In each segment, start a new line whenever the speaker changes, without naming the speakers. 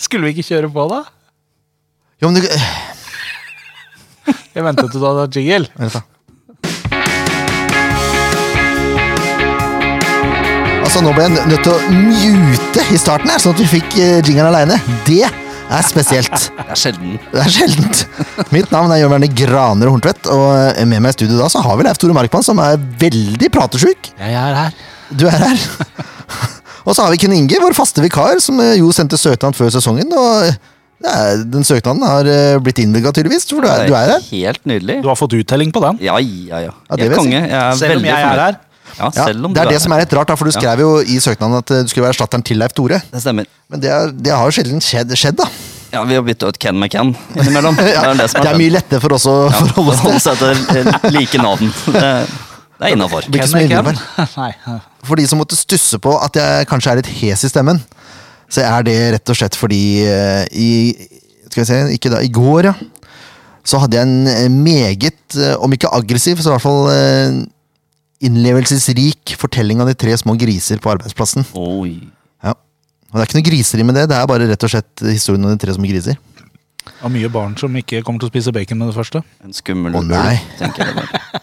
Skulle vi ikke kjøre på, da?
Jo, men eh, det
Jeg ventet til du hadde jingle.
Vent, da. Altså, nå ble jeg nø- nødt til å mute i starten, her, sånn at vi fikk eh, jingeren aleine. Det er spesielt.
Det er sjelden.
Det er sjeldent. Mitt navn er Jørn Werner Graner Horntvedt, og eh, med meg i studio da så har vi Leif Tore Markmann, som er veldig pratesjuk.
Jeg er her.
Du er her. Og så har vi Ken Inge, vår faste vikar, som eh, jo sendte søknad før sesongen. Og eh, det er, den søknaden har eh, blitt innvilga, tydeligvis, for du er, du er her.
Helt nydelig.
Du har fått uttelling på den.
Ja, ja, ja.
Ja, det vil jeg
Jeg er konge.
si.
Jeg er
Selv om
veldig
jeg er
fornøyd.
her.
Ja,
Ja,
selv om
det
du
er det som er litt rart, da, for du
Ja.
skrev jo i søknaden at eh, du skulle være erstatteren til Leif Tore.
Det stemmer.
Men det, er, det har jo sjelden skjedd, skjedd da.
Ja, vi har bytta ut Ken med Ken innimellom. Det
Ja,
er det
det
som er
er mye lettere for oss å
Ja,
forholde oss til.
forholde seg til eh, like navn. Det, det er innafor.
Blir ikke så mye innvendig.
Nei.
For de som måtte stusse på at jeg kanskje er litt hes i stemmen, så er det rett og slett fordi eh, i Skal vi se, ikke da, i går, ja. Så hadde jeg en eh, meget, eh, om ikke aggressiv, så i hvert fall eh, innlevelsesrik fortelling av de tre små griser på arbeidsplassen.
Oi.
Ja. Og det er ikke noe griseri med det, det er bare rett og slett historien om de tre små griser.
Og mye barn som ikke kommer til å spise bacon med det første.
En skummel
Å,
ulv,
nei.
tenker jeg. det var.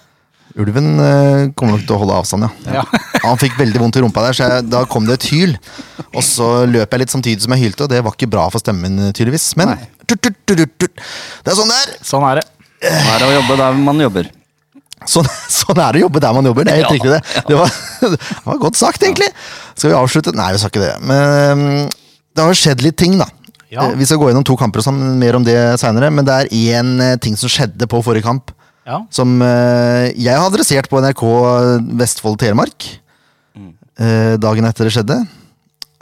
Ulven eh, kommer nok til å holde avstand, ja.
Ja.
Han fikk veldig vondt i rumpa der, så jeg, da kom det et hyl. Og så løp jeg litt samtidig som jeg hylte, og det var ikke bra for stemmen, eh, tydeligvis. Men
Nei.
tut, tut, tut, tut, tut. det er sånn det er!
Sånn er det.
Her er å jobbe der man jobber.
Sånn, sånn er det å jobbe der man jobber. Det er helt riktig,
Ja,
det. Det var, det var godt sagt, egentlig. Skal vi avslutte? Nei, vi skal ikke det. Men mm, det har jo skjedd litt ting, da.
Ja.
Eh, Vi skal gå gjennom to kamper og sånn, mer om det seinere. Men det er én eh, ting som skjedde på forrige kamp,
Ja.
som eh, jeg har adressert på NRK Vestfold Telemark.
Mm.
eh, dagen etter det skjedde.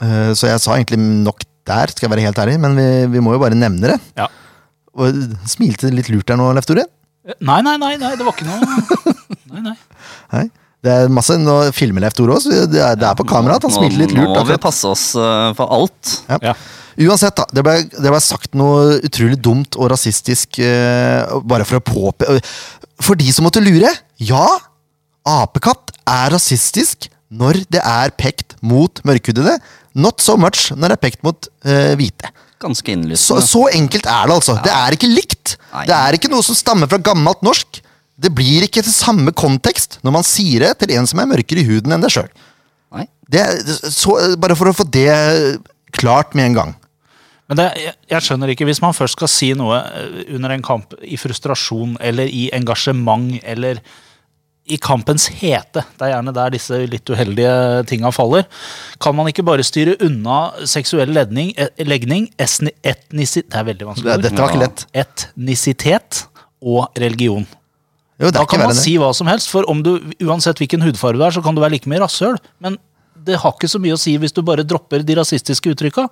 Eh, så jeg sa egentlig nok der, skal jeg være helt ærlig, men vi, vi må jo bare nevne det.
ja.
Og smilte litt lurt der nå, Leif Tore.
Nei, nei, nei, nei, det var ikke noe Nei, nei.
Hei. Det er masse, Nå filmer Leif Tore også, det er, det er på kamera at han
Nå-
smilte litt lurt.
Nå må vi
akkurat.
passe oss eh, for alt.
Ja.
Uansett, da. Det ble, det ble sagt noe utrolig dumt og rasistisk, eh, bare for å påpe... For de som måtte lure, ja, apekatt er rasistisk når det er pekt mot mørkhudede. Not so much når det er pekt mot eh, hvite.
Ganske
Så,
innlysende.
så enkelt er det, altså. Det er ikke likt.
Nei.
Det er ikke noe som stammer fra gammelt norsk. Det blir ikke til samme kontekst når man sier det til en som er mørkere i huden enn deg sjøl.
Nei.
Bare for å få det eh, klart med en gang.
Men det, jeg, jeg skjønner ikke, hvis man først skal si noe eh, under en kamp i frustrasjon eller i engasjement eller i kampens hete, det er gjerne der disse litt uheldige tinga faller, kan man ikke bare styre unna seksuell ledning, eh, legning, esni, etnisi, det er veldig vanskelig ord,
Dette var ikke lett.
etnisitet og religion.
Jo, det
Da
er ikke
kan
verre
man
enn det.
si hva som helst, for om du, uansett hvilken hudfarge du er, så kan du være like mye rasshøl. Men det har ikke så mye å si hvis du bare dropper de rasistiske uttrykka,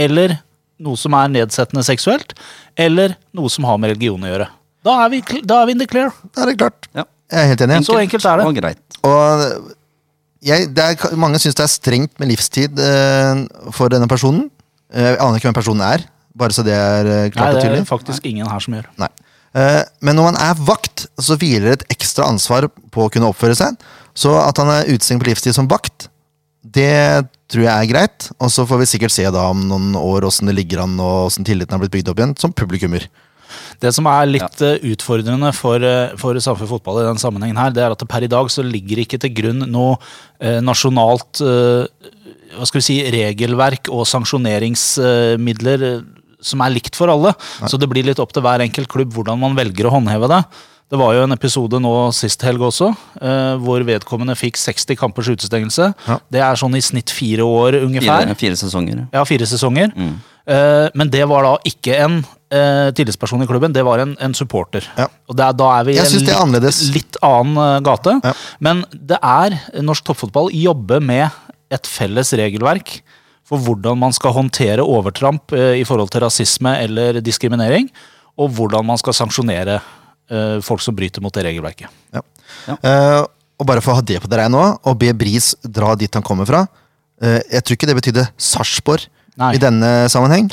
eller noe som er nedsettende seksuelt, eller noe som har med religion å gjøre. Da er vi, kl- da er vi in the clear.
Da er det klart.
Ja.
Jeg er helt enig.
Så enkelt er det.
Og greit.
Og jeg, det er, ka- mange syns det er strengt med livstid eh, for denne personen. Eh, Jeg aner ikke hvem personen er, bare så det er eh,
Nei,
klart og
det er
tydelig.
det faktisk ingen her som gjør.
Nei. Eh, Men når man er vakt, så hviler et ekstra ansvar på å kunne oppføre seg. Så at han er utestengt på livstid som vakt, det tror jeg er greit. Og så får vi sikkert se da om noen år åssen det ligger an, og åssen tilliten har blitt bygd opp igjen, som publikummer.
Det som er litt eh, utfordrende for, eh, for Samfunn Fotball i den sammenhengen her, det er at det per i dag så ligger ikke til grunn noe eh, nasjonalt eh, hva skal vi si, regelverk og sanksjoneringsmidler eh, som er likt for alle. Så det blir litt opp til hver enkelt klubb hvordan man velger å håndheve det. Det var jo en episode nå sist helg også, eh, hvor vedkommende fikk 60 kampers utestengelse.
Ja.
Det er sånn i snitt fire år ungefær.
Fire, fire sesonger.
Ja, fire sesonger.
Mm.
Eh, men det var da ikke en eh, tillitsperson i klubben, det var en, en supporter.
Ja.
Og det er, da er vi i
Jeg
en
synes det er
litt,
annerledes.
litt annen eh, gate.
Ja.
Men det er norsk toppfotball jobber med et felles regelverk for hvordan man skal håndtere overtramp eh, i forhold til rasisme eller diskriminering, og hvordan man skal sanksjonere eh, folk som bryter mot det regelverket.
Ja.
Ja.
Eh, og bare for å ha det på det reine nå, og be Bris dra dit han kommer fra eh, Jeg tror ikke det betydde Sarpsborg
Nei.
i denne sammenheng.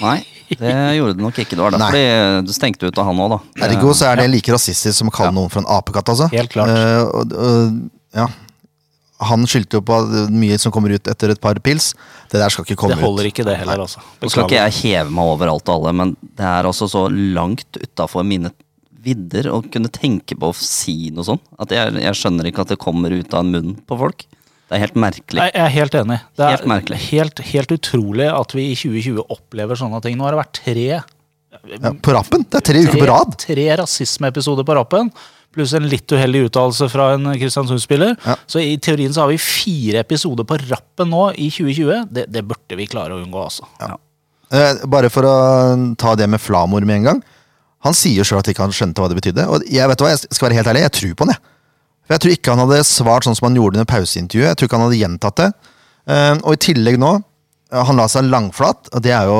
Nei, det gjorde det nok ikke. Det var derfor de- du stengte ut av han òg, da.
Ergo så er det like rasistisk som å kalle noen for en apekatt, altså.
Helt klart.
Eh, og, og, ja. han skyldte jo på at mye som kommer ut etter et par pils. Det der skal ikke komme
Det holder
ut.
ikke, det heller, altså.
Nå skal ikke
Beklager.
jeg heve meg over alt og alle, men det er altså så langt utafor mine vidder å kunne tenke på å si noe sånn. At jeg, jeg skjønner ikke at det kommer ut av munnen på folk. Det er helt merkelig.
Nei, jeg er helt enig. Det er
Helt merkelig.
Helt, helt utrolig at vi i 2020 opplever sånne ting. Nå har det vært tre,
Ja, på rappen! Det er tre uker på
tre,
rad!
tre rasismeepisoder på rappen. Pluss en litt uheldig uttalelse fra en Kristiansund-spiller.
Ja.
Så i teorien så har vi fire episoder på rappen nå i 2020. Det, det burde vi klare å unngå, altså.
Eh, Bare for å ta det med Flamor med en gang. Han sier sjøl at ikke han skjønte hva det betydde. Og jeg vet hva, jeg skal være helt ærlig, jeg tror på han, jeg. For jeg tror ikke han hadde svart sånn som han gjorde under pauseintervjuet. Jeg tror ikke han hadde gjentatt det. Eh, Og i tillegg nå, eh, han la seg langflat, og det er jo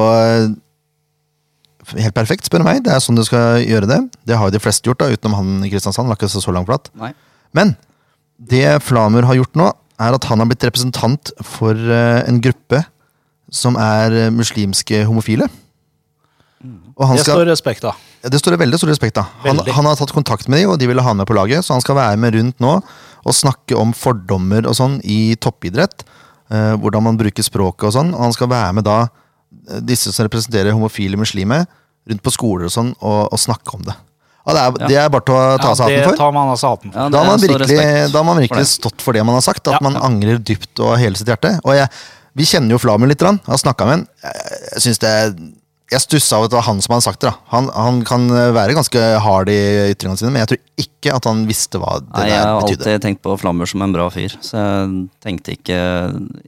eh, helt perfekt, spør du meg. Det er sånn du skal gjøre det. Det har jo de fleste gjort, da, utenom han i Kristiansand. Han la ikke seg så langflat.
Nei.
Men det Flamur har gjort nå, er at han har blitt representant for eh, en gruppe som er eh, muslimske homofile. Og han
Det
skal,
står respekt av.
det står det veldig stor respekt av. Han,
Veldig.
han har tatt kontakt med dem, og de ville ha han med på laget. Så han skal være med rundt nå og snakke om fordommer og sånn i toppidrett. eh, hvordan man bruker språket og sånn. Og han skal være med da eh, disse som representerer homofile muslimer, rundt på skoler og sånn, og, og snakke om det. Ja, det, er, det er bare til å ta seg av
det
den for.
tar man altså hatten for.
Ja, det
Da har
er
man
så
virkelig,
respekt
da har man
for
virkelig
det.
stått for det man har sagt. At
Ja.
man angrer dypt og hele sitt hjerte. Og jeg, vi kjenner jo Flamur litt. grann, har snakka med han. Jeg- Jeg synes det jeg stussa over at det var han som hadde sagt det. da. Han, han kan være ganske hard i ytringene sine, men jeg tror ikke at han visste hva det
Nei, jeg
der
har
betydde.
alltid tenkt på Flammer som en bra fyr, så jeg tenkte ikke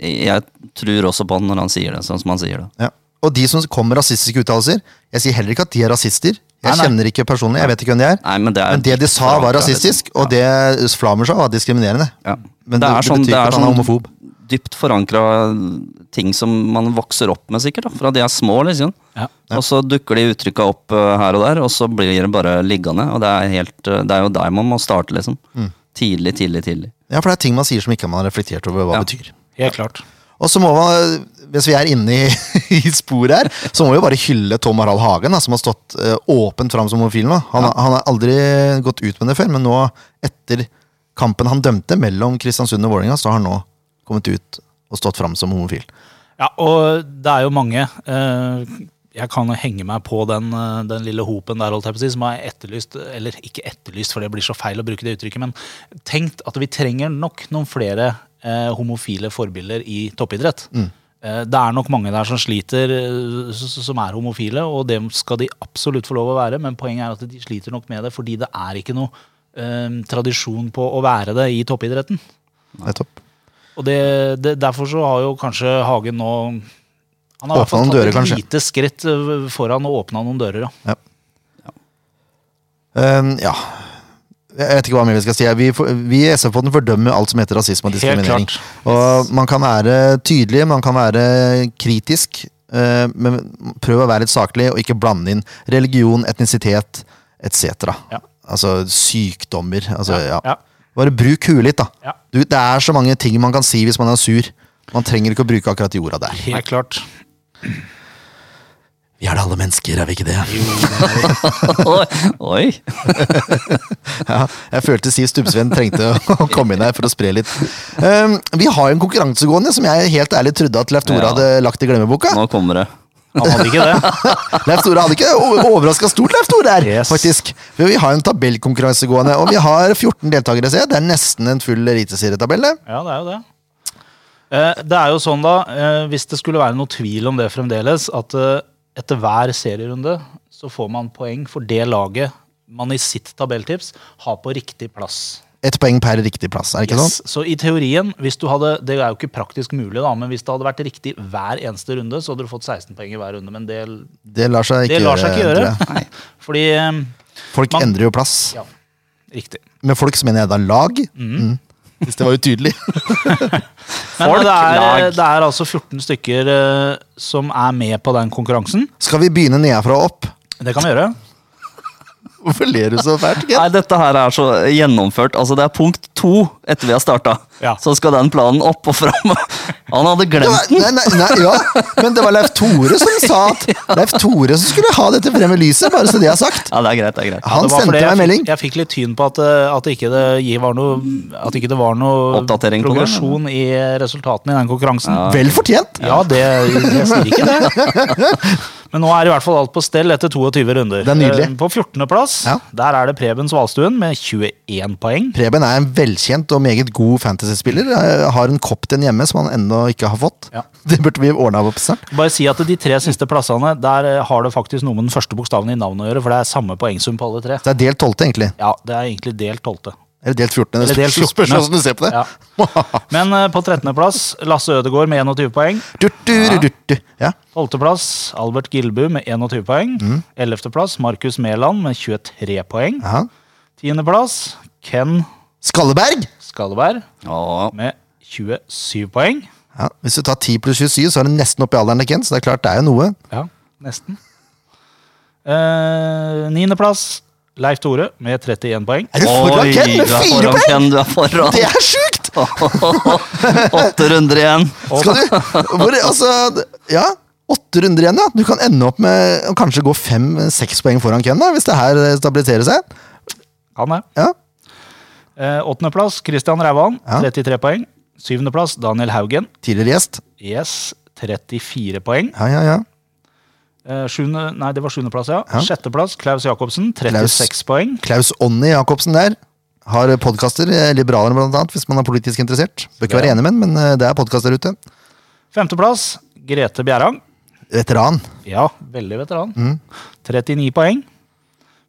Jeg tror også på han når han sier det, sånn som han sier det.
Ja. Og de som kom med rasistiske uttalelser Jeg sier heller ikke at de er rasister. Jeg
Nei, nei.
kjenner ikke personlig, jeg vet ikke hvem de er.
Nei, men det, er
Men det de sa, var rasistisk, og det Flamur sa, var diskriminerende.
Ja.
Men
det,
det-
er
det
sånn,
betyr
det
ikke at han
er sånn
er homofob.
dypt forankra ting som man vokser opp med, sikkert. Da, fra de er små, liksom.
Ja.
Og så dukker de uttrykka opp eh, her og der, og så blir det bare liggende. Og det er, helt, eh, det er jo der man må starte, liksom.
Mm.
Tidlig, tidlig, tidlig.
Ja, For det er ting man sier som ikke man har reflektert over hva
Ja.
betyr.
Helt klart.
Og så må man, hvis vi er inne i, i sporet her, så må vi jo bare hylle Tom Harald Hagen, da, som har stått eh, åpent fram som homofil nå. Han, han har aldri gått ut med det før, men nå, etter kampen han dømte mellom Kristiansund og Vålerenga, så har han nå kommet ut og stått fram som homofil.
Ja, og det er jo mange. eh, Jeg kan jo henge meg på den, eh, den lille hopen der, holdt jeg på å si, som har etterlyst, eller ikke etterlyst, for det blir så feil å bruke det uttrykket, men tenkt at vi trenger nok noen flere eh, homofile forbilder i toppidrett. Eh, Det er nok mange der som sliter, eh, s- s- som er homofile, og det skal de absolutt få lov å være, men poenget er at de sliter nok med det fordi det er ikke noe eh, tradisjon på å være det i toppidretten.
Nettopp.
Og det, det, derfor så har jo kanskje Hagen nå Han har i hvert fall
Åpnet noen
tatt
dører,
et
kanskje.
lite skritt øh, foran og åpna noen dører, ja.
Um, ja. Jeg vet ikke hva mer vi skal si. Vi, for- vi i SF-podden fordømmer alt som heter rasisme og
Helt
diskriminering.
klart.
Og man kan være tydelig, man kan være kritisk, eh, men prøv å være litt saklig og ikke blande inn religion, etnisitet etc.
Ja.
Altså sykdommer. Altså, ja.
ja.
Bare bruk huet litt, da.
Ja.
Du, det er så mange ting man kan si hvis man er sur. Man trenger ikke å bruke akkurat de orda der.
Helt klart.
Vi er da alle mennesker, er vi ikke det?
Oi!
Ja, jeg følte Siv Stubbsveen trengte å komme inn her for å spre litt. Um, vi har jo en konkurranse gående som jeg helt ærlig trodde at Leif Tore
Ja.
hadde lagt i glemmeboka.
Nå kommer det.
Han hadde ikke det.
Leif Tore hadde ikke overraska stort, Leif Tore, her,
Yes.
faktisk. For vi har en tabellkonkurranse gående, og vi har 14 deltakere, ser jeg. Det er nesten en full eliteserietabell. det.
Ja, det er jo det. Eh, Det er jo sånn, da, eh, hvis det skulle være noe tvil om det fremdeles, at eh, etter hver serierunde så får man poeng for det laget man i sitt tabelltips har på riktig plass.
Ett poeng per riktig plass, er det ikke sånn?
Yes. Så i teorien, hvis du hadde Det er jo ikke praktisk mulig, da, men hvis det hadde vært riktig hver eneste runde, så hadde du fått 16 poeng i hver runde, men det
sånn? Det lar seg ikke
Det lar seg ikke gjøre.
tror jeg.
Fordi eh,
Folk
Man-
endrer jo plass.
Ja, riktig.
Med folk så mener jeg da lag.
Mhm.
Mm. Hvis det var utydelig.
Men
Folk,
det, er,
lag.
det er altså 14 stykker eh, som er med på den konkurransen.
Skal vi begynne nedenfra og opp?
Det kan vi gjøre.
Hvorfor ler du så fælt? Ken?
Nei, dette her er så gjennomført. Altså, det er punkt to etter vi har starta.
Ja.
Så skal den planen opp og fram. Han
Det
hadde glemt
var, nei, nei, nei, ja. Men det var Leif Tore som sa at Leif Tore som skulle ha dette frem i lyset, bare så det er sagt.
Ja, det er greit, det er greit.
Han
Det var
sendte
fordi
meg
jeg
en melding.
fikk- Jeg fikk litt tyn på at, eh, at, ikke, det gi- var noe, at ikke det var noe
Oppdatering på det,
progresjon i resultatene i den konkurransen.
Ja.
Vel fortjent!
Ja, det, jeg sier ikke det. Men nå er i hvert fall alt på stell etter 22 runder.
Det er nydelig.
Eh, På 14.-plass
Ja.
der er det Preben Svalstuen med 21 poeng.
Preben er en velkjent og meget god fantasyspiller. Eh, Har en Copten hjemme som han ennå ikke har fått.
Ja.
Det burde vi ordna opp snart.
Bare si at De tre siste plassene der eh, har det faktisk noe med den første bokstaven i navnet å gjøre, for det er samme poengsum på alle tre.
Det er delt tolvte, egentlig.
Ja, Det er egentlig delt tolvte.
Eller delt 14.
Eller delt
spørs- spørs
14..
hvordan du ser på det.
Ja. Men eh, på 13.-plass Lasse Ødegaard med 21 poeng.
Du, du, du, du, du. Ja.
12.-plass Albert Gilbu med 21 poeng.
Mm.
11.-plass Markus Mæland med 23 poeng.
Aha.
10.-plass Ken
Skalleberg!
Skalleberg
Ja,
med 27 poeng.
Ja. Hvis du tar 10 pluss 27, så er du nesten oppe i alderen til Ken, så det er klart det er jo noe.
Ja, nesten. Niendeplass Eh, Leif Tore med 31 poeng.
Er du foran Ken
du
med
er
fire
foran,
poeng?!
Ken, du er foran.
Det er sjukt!
Åtte runder igjen.
Skal du hvor, Altså, ja. Åtte runder igjen, ja. Du kan ende opp med å kanskje gå fem-seks poeng foran Ken, da, hvis det her stabiliserer seg.
Han er.
Ja.
Eh, Åttendeplass Christian Rævan, 33 poeng. Syvendeplass Daniel Haugen.
Tidligere gjest.
Yes, 34 poeng.
Ja, ja, ja.
Eh, sjuende, nei, det var sjuendeplass, ja. Sjetteplass Klaus Jacobsen, 36 poeng.
Klaus Onny Jacobsen der har podkaster, Liberalerne blant annet, hvis man er politisk interessert. Bør ikke være enig med den, men eh, det er podkast der ute.
Femteplass Grete Bjerang.
Veteran.
Ja, veldig veteran.
Mm.
39 poeng.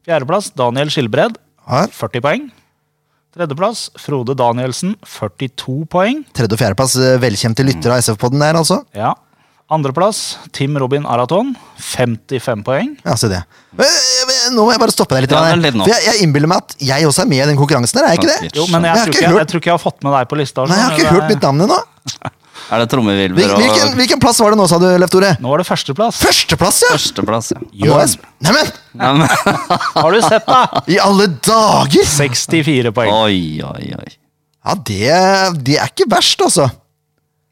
Fjerdeplass Daniel Skilbred,
Har
40 poeng. Tredjeplass Frode Danielsen, 42 poeng.
tredje- og fjerdeplass, eh, velkjente lyttere av SF-podden der, altså.
Ja. Andreplass Tim Robin Araton, 55 poeng.
Ja, se det. Men, eh, men Nå må jeg bare stoppe deg litt.
Ja,
her.
vent litt nå.
For jeg, jeg innbiller meg at jeg også er med i den konkurransen her, er jeg ikke det?
Jo,
Jo, men jeg,
Jeg har
tror
ikke
ikke, jeg,
hørt-
tror ikke jeg har fått med deg på lista.
Nei, jeg har
skjønner
ikke
du.
hørt mitt navn ennå.
Er
Hvil,
det trommevirvler
hvilken,
og
hvilken plass var det nå, sa du, Leif Tore?
Nå er det førsteplass.
Førsteplass, ja!
førsteplass? Ja.
Nå er jeg sp- Neimen,
Ja, men-
Har du sett, da?
i alle dager!
64 poeng.
Oi, oi, oi.
Ja, det, det er ikke verst, altså.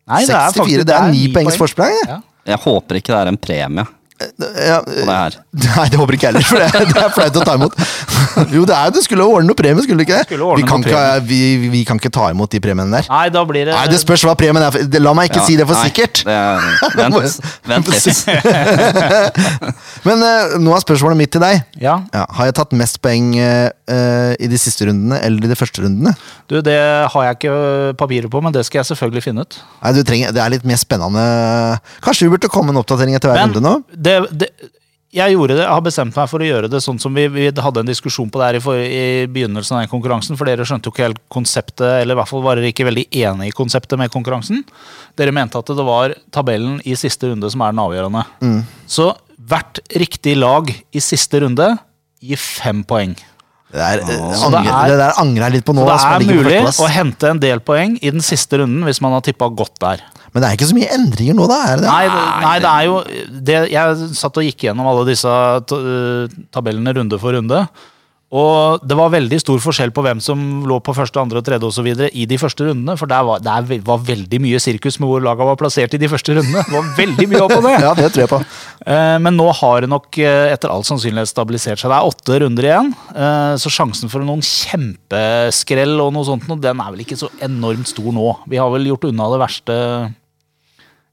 Nei,
64, det er ni poengs forsprang. det.
Ja.
Jeg håper ikke det er en premie på
Ja, eh,
det her.
Nei, det håper ikke jeg heller, for det, det er flaut å ta imot. Jo, det er jo, du skulle ordne noe premie, skulle du ikke det?
Skulle ordne
Vi kan
noe
ikke, vi, vi kan ikke ta imot de premiene der.
Nei, da blir det
Nei, det spørs hva premien er. for- det- La meg ikke
Ja,
si det for
nei,
sikkert.
det er- Vent, vent litt.
Men eh, nå er spørsmålet mitt til deg.
Ja.
Ja, har jeg tatt mest poeng eh, eh, i de siste rundene eller i de første rundene?
Du, det har jeg ikke papirer på, men det skal jeg selvfølgelig finne ut.
Nei, du trenger, Det er litt mer spennende. Kanskje vi burde komme med en oppdatering etter hver
Men
runde nå?
det, det, jeg gjorde det, jeg har bestemt meg for å gjøre det sånn som vi, vi hadde en diskusjon på det her i, for, i begynnelsen av den konkurransen, for dere skjønte jo ikke helt konseptet, eller i hvert fall var dere ikke veldig enig i konseptet med konkurransen. Dere mente at det var tabellen i siste runde som er den avgjørende.
Mm.
Så hvert riktig lag i siste runde gir fem poeng.
Det, er, eh,
Så det
angre-
er-
det der angrer jeg litt på nå.
Så det
altså,
er
jeg ligger på
mulig
førsteplass.
å hente en del poeng i den siste runden hvis man har tippa godt der.
Men det er ikke så mye endringer nå, da? er det det?
Nei, det- nei, det er jo det, Jeg satt og gikk gjennom alle disse ta- eh, tabellene runde for runde. Og det var veldig stor forskjell på hvem som lå på første, andre og tredje osv. i de første rundene. For der var, der ve- var veldig mye sirkus med hvor laga var plassert i de første rundene. Det var veldig mye opp og ned.
Ja, det tror jeg på.
Eh, Men nå har det nok eh, etter all sannsynlighet stabilisert seg. Det er åtte runder igjen. eh, Så sjansen for noen kjempeskrell og noe sånt, nå, den er vel ikke så enormt stor nå. Vi har vel gjort unna det verste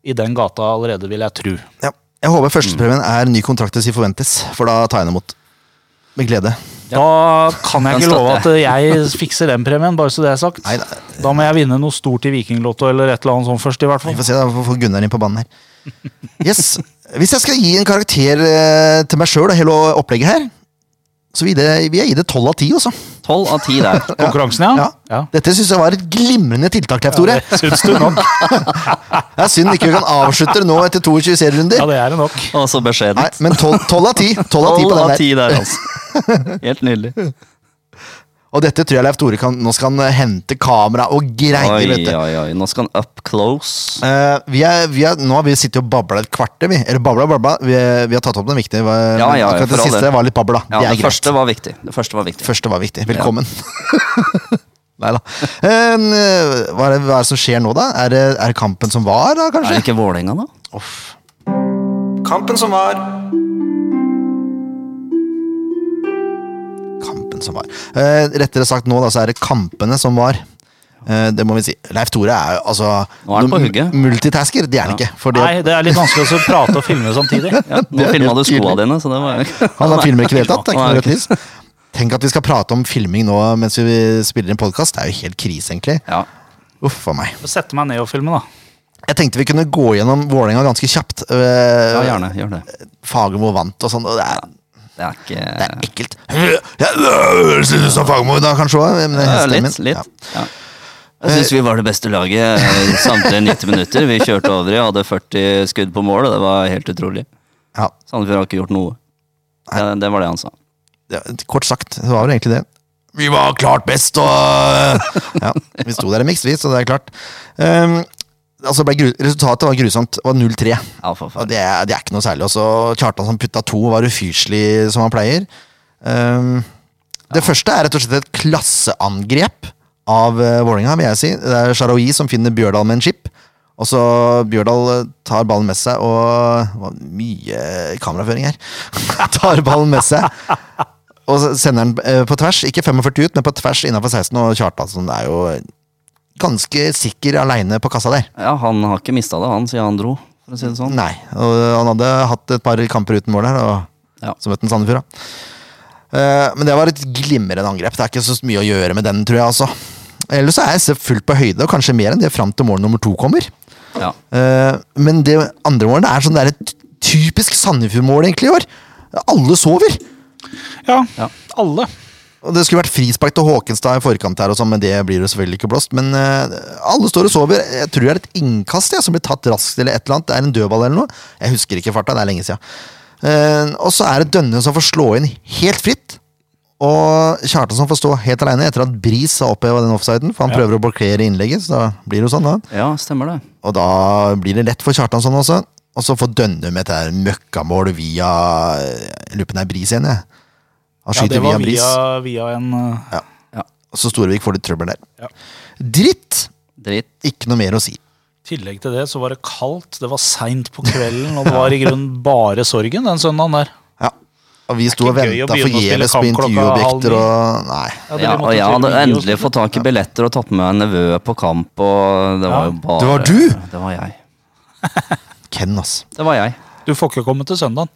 i den gata allerede, vil jeg tro.
Ja. Jeg håper
Mm.
førstepremien er ny kontrakt til Sifuentes, for da tar jeg den imot. Med glede.
Da kan jeg
Den
ikke love at
støtter
jeg fikser den premien, bare så det er sagt.
Nei, nei.
Da må jeg vinne noe stort i Vikinglotto eller et eller annet sånt først, i hvert
Vi
fall.
får se, da får Gunnar inn på banen her. Yes. Hvis jeg skal gi en karakter eh, til meg sjøl og hele opplegget her, så vil jeg, vil jeg gi det tolv av ti, altså.
Tolv av ti der.
Konkurransen, ja?
Ja. Dette syns jeg var et glimrende tiltak, Leif Tore.
Det syns du nok.
Det er synd ikke vi kan avslutte det nå etter 22 serierunder.
Ja, det er det nok.
Og så
Nei,
beskjedent.
men tolv tolv av ti. Tolv av ti på
Tolv
den
av
der.
ti der, altså. Helt nydelig.
Og dette tror jeg Leif Tore kan Nå skal han eh, hente kamera og greier,
Oi,
vet du.
oi, oi. Nå skal han up close.
Eh, vi er, vi er, nå har vi sittet og babla et kvarter, vi. Eller babla, babla. Vi, vi har tatt opp den viktige. Var,
Ja, ja,
akkurat
for
det
all
siste
del.
var litt babla.
Ja,
det er
det
greit.
første var viktig. Det første var viktig.
Første var viktig. Velkommen. Nei da. Eh, hva, er det, hva er det som skjer nå, da? Er det, er det kampen som var, da,
Er
kanskje?
det ikke Vålerenga, da?
Kampen som var.
Kampen som var. Eh, rettere sagt nå, da, så er det kampene som var. Eh, det må vi si. Leif Tore er jo altså
Nå er han på
noen
hugget.
Multitasker, det er han ikke. For det,
Nei, det er litt vanskelig å så prate og filme samtidig.
Ja, nå
er
filma du
helt
skoa
tydelig.
dine, så det var jo
han har filmer ikke i det hele tatt. Det er ikke
Nei,
noe
ok.
rødt lys. Tenk at vi skal prate om filming nå mens vi spiller en podkast. Det er jo helt krise, egentlig.
Ja.
Uff a meg.
Sette meg ned og filme, da.
Jeg tenkte vi kunne gå gjennom Vålerenga ganske kjapt. Uh,
ja, gjerne. Gjør det.
Fagermo vant og sånn. og det er...
Det er ikke
Det er ekkelt. Jeg synes du sa Fagermo i dag, kanskje også, men det er
Ja,
stemmen
litt.
min.
litt.
Ja.
Ja. Jeg syns vi var det beste laget eh, samtlige 90 minutter. Vi kjørte over i, hadde 40 skudd på mål, og det var helt utrolig.
Ja.
Sandefjord har ikke gjort noe. Det, det var det han sa.
Ja, kort sagt, det var vel egentlig det. Vi var klart best, og Ja, vi sto der i miks, vi, så det er klart. Ehm, altså ble gru resultatet var grusomt. Det var 0-3.
Ja, for
Og
faen.
det, er- det er ikke noe særlig. Og så Kjartan som putta to, var ufyselig som han pleier. Ehm, det første er rett og slett et klasseangrep av uh, Vålerenga, vil jeg si. Det er Sharawi som finner Bjørdal med en chip. Og så Bjørdal eh, tar ballen med seg, og det var mye kameraføring her. tar ballen med seg. Og så sender den eh, på tvers, ikke 45 ut, men på tvers innafor 16, og Kjartansson er jo ganske sikker aleine på kassa der.
Ja, han har ikke mista det, han, siden han dro, for å si det sånn.
Nei, og han hadde hatt et par kamper uten mål her, og
Ja.
så møtte han Sandefjord. da. Eh, Men det var et glimrende angrep. Det er ikke så mye å gjøre med den, tror jeg. altså. Ellers så er jeg selv fullt på høyde, og kanskje mer enn det, fram til mål nummer to kommer.
Ja.
Eh, Men det andre målet er sånn det er et typisk Sandefjord-mål egentlig i år. Alle sover!
Ja,
Ja.
alle.
Og Det skulle vært frispark til Håkenstad i forkant, her og sånn, men det blir det selvfølgelig ikke blåst. Men eh, alle står og sover. Jeg tror det er et innkast ja, som blir tatt raskt, eller et eller annet. Det er en dødball eller noe. Jeg husker ikke farta, det er lenge siden. Eh, og så er det Dønne som får slå inn helt fritt. Og Kjartansson får stå helt alene etter at Bris har oppheva den offsiden, for han prøver å blokkere innlegget. Så da blir det jo sånn, da.
ja, stemmer det.
Og da blir det lett for Kjartansson også. Og så får Dønne med dette her møkkamål via Jeg lurer på om det er Bris igjen, jeg. Han
Ja,
skyter
det var
via Bris.
via, via en eh,
Så Storevik får litt trøbbel der.
Ja.
Dritt!
Drit.
Ikke noe mer å si.
tillegg til det så var det kaldt, det var seint på kvelden, og det var i grunnen bare sorgen den søndagen der.
Ja. Og vi sto og
ikke gøy å
venta
begynne å spille
forgjeves på
kamp klokka
intervjuobjekter og Nei.
Ja, det-
Ja,
vi måtte
og jeg
til
hadde
Viggo
endelig
og
fått tak i billetter og tatt med meg nevø på kamp, og det var jo bare
Det var du?
Det var jeg.
Ken, ass.
Det var jeg.
sånt. Du får ikke komme til søndagen.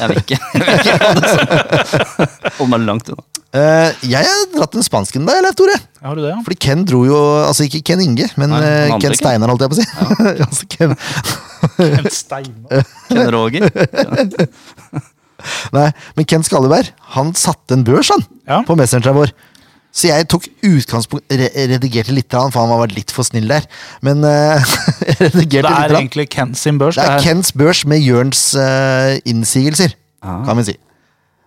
Jeg vil ikke. Jeg vil ikke ha det sånn. Hold meg langt unna.
Eh, jeg har dratt den spansken der, Leif Tore.
Har du det, ja?
Fordi Ken dro jo Altså ikke Ken Inge, men
Nei,
eh,
han andre
Ken
Ken.
Steinar, holdt jeg på å si. altså, Ken.
En stein.
Ken Roger.
Nei, men Ken Skalleberg, han satte en børs, han.
Ja.
På messengeren vår. Så jeg tok utgangspunkt re Redigerte litt, for han var litt for snill der. Men eh, jeg
Det
redigerte litt.
er egentlig Ken sin børs.
Det er Kens børs med Jørns eh, innsigelser,
Ah.
kan vi si.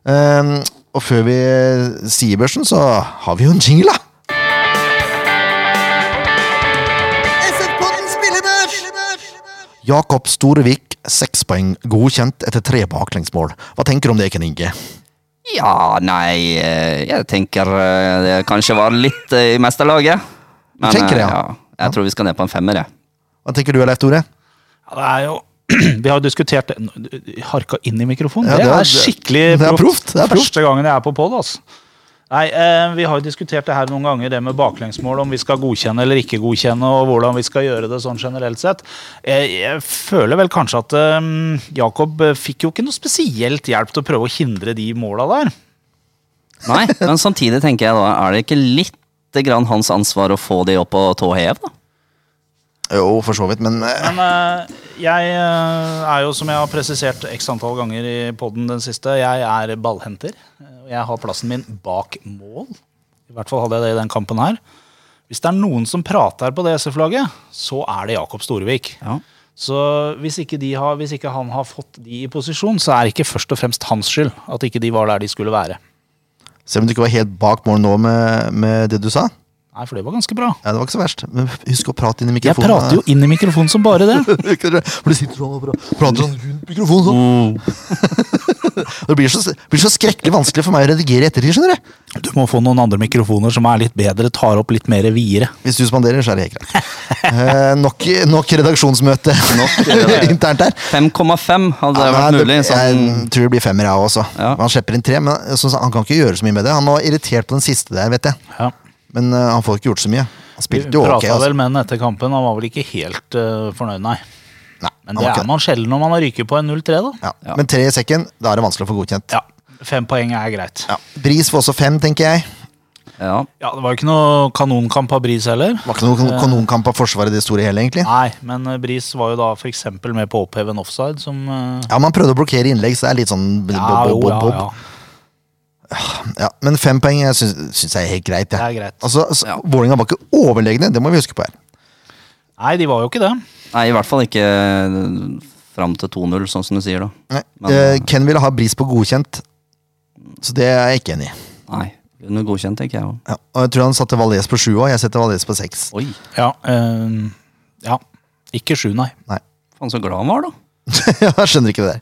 Ehm, og før vi eh, sier børsen, så har vi jo en jingle, da! Jakob Storevik, seks poeng, godkjent etter tre baklengsmål. Hva tenker du om det, Ken Inge?
Ja, nei eh, Jeg tenker eh, det kanskje var litt eh, i mesterlaget. Men,
tenker det,
eh,
ja.
Jeg tror vi skal ned på en femmer, jeg.
Hva tenker du, Leif Tore?
Ja, det er jo Vi har jo diskutert det Harka inn i mikrofonen.
Ja,
det,
det er-
er skikkelig
det er proft, det er proft.
Første gangen jeg er på pod, altså. Nei, eh, Vi har jo diskutert det her noen ganger, det med baklengsmål, om vi skal godkjenne eller ikke godkjenne, og hvordan vi skal gjøre det sånn generelt sett. Jeg, jeg føler vel kanskje at eh, Jakob eh, fikk jo ikke noe spesielt hjelp til å prøve å hindre de måla der.
Nei, men samtidig tenker jeg da, er det ikke litt grann hans ansvar å få de opp på tå hev, da?
Jo, for så vidt, men eh,
Men eh, jeg eh, er jo, som jeg har presisert x antall ganger i poden den siste, jeg er ballhenter. Eh, og Jeg har plassen min bak mål. I hvert fall hadde jeg det i den kampen her. Hvis det er noen som prater på det SF-laget, så er det Jakob Storevik.
Ja.
Så hvis ikke, de har, hvis ikke han har fått de i posisjon, så er det ikke først og fremst hans skyld at ikke de var der de skulle være.
Selv om du ikke var helt bak mål nå med, med det du sa.
Nei, for det var ganske bra.
Ja, det var ikke så verst. Men husk å prate inn i
Jeg
mikrofonen.
prater jo inn i mikrofonen som bare det.
For du sitter sånn og pra- prater sånn rundt mikrofonen. Sånn.
Mm.
Og det blir så, blir så skrekkelig vanskelig for meg å redigere etter det, skjønner du.
Du må få noen andre mikrofoner som er litt bedre, tar opp litt mer videre.
Hvis du spanderer, så er det helt greit. Eh, nok, nok redaksjonsmøte
eh,
internt der.
5,5 hadde det
Nei,
vært mulig.
det-
Sånn,
Jeg tror det blir femmer, jeg også.
Ja.
Han slipper inn tre, men sånn, som- han kan ikke gjøre så mye med det. Han var irritert på den siste der, vet jeg.
Ja.
Men eh, han får ikke gjort så mye. Han
Vi
spilte jo
prata
ok. Altså.
vel med ham etter kampen, han var vel ikke helt eh, fornøyd, nei.
Nei,
Men
han
det
var ikke
er man sjelden når man har ryket på en 0-3, da.
Ja. Men tre i sekken, da er det vanskelig å få godkjent.
Ja, Fem poeng er greit.
Ja. Bris får også fem, tenker jeg.
ja.
Ja, Det var jo ikke noe kanonkamp av Bris heller.
Det var ikke noen kanonkamp av Forsvaret i det store hele, egentlig.
Nei, men eh, Bris var jo da f.eks. med på å oppheve en offside, som eh,
Ja, man prøvde å blokkere innlegg, så det er litt sånn bob,
Ja,
bob,
jo,
bob,
ja, ja.
bob. Ja, men fem poeng jeg syns, syns jeg er helt greit. jeg.
Det er greit.
Altså, altså, Vålinga var ikke overlegne, det må vi huske på her. Altså-
Nei, de var jo ikke det.
Nei, i hvert fall ikke fram til 2-0, sånn som du sier, da.
Nei.
Men-
eh, Ken ville ha bris på godkjent, så det er jeg ikke enig i.
Nei. Under godkjent, tenker jeg òg.
Ja, og jeg tror han satte Valais på sju òg, jeg setter Valais på seks.
Oi,
Ja, eh, ja. Ikke sju, nei.
Nei,
faen så glad han var, da.
jeg skjønner ikke det der.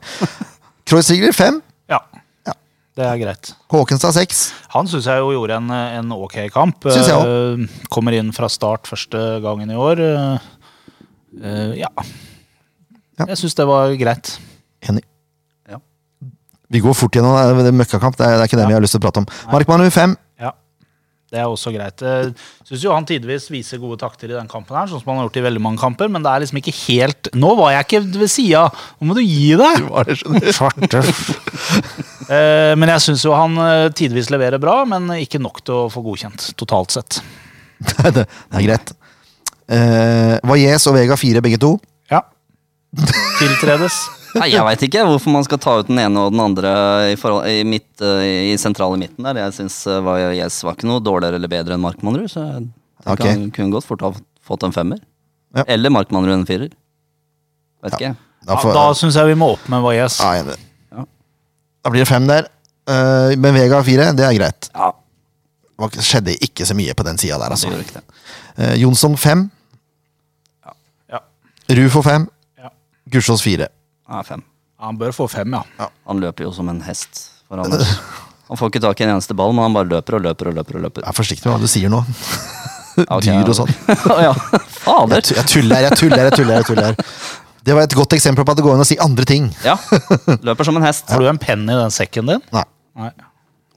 Kreuzigler fem,
Ja.
Ja.
Det er greit.
Håkenstad seks.
Han syns jeg jo gjorde en, en ok kamp.
Synes jeg
Eh, Kommer inn fra start første gangen i år. Eh, eh, ja.
Ja.
Jeg syns det var greit.
Enig.
Ja.
Vi går fort gjennom eh, det, det er møkkakamp, det er, det er ikke det vi har lyst til å prate om. Markmann nummer fem.
Ja. Det er også greit. Jeg syns jo han tidvis viser gode takter i den kampen, her, sånn som han har gjort i veldig mange kamper, men det er liksom ikke helt Nå var jeg ikke ved sida! Nå må du gi deg! Svarte f- Eh, Men jeg syns jo han eh, tidvis leverer bra, men ikke nok til å få godkjent totalt sett.
Nei, det, det er greit. Uh, Valles og Vega fire, begge to.
Ja. Tiltredes.
Nei, Jeg veit ikke hvorfor man skal ta ut den ene og den andre i, forhold, i, midt, eh, i sentrale midten der. Jeg syns Yes var ikke noe dårligere eller bedre enn Markmannrud, så jeg tenker
Ok.
han kunne godt fort ha fått en femmer.
Ja.
Eller Markmannrud en firer. Vet ikke.
Ja,
får-
da syns jeg vi må opp med Valles.
Ja, jeg er enig.
Ja.
Da blir det fem der. Eh, men Vega har fire, det er greit.
Ja,
Det var- skjedde ikke så mye på den sida der,
så
altså.
gjorde ikke det.
Eh, Jonsson fem.
Ja.
Rufo fem.
Ja.
Gussiås fire.
Ja, fem.
Han bør få fem, ja.
Han løper jo som en hest for Anders. Han får ikke tak i en eneste ball, men han bare løper og løper og løper. og løper.
Vær forsiktig med hva du sier nå.
Ok,
Dyr og
ja.
sånn.
ja,
Jeg
fader.
tu- jeg tuller, jeg tuller, jeg tuller. jeg tuller. Det var et godt eksempel på at det går an å si andre ting.
Ja, løper som en hest.
Får du en penn i den sekken din?
Nei.
Nei.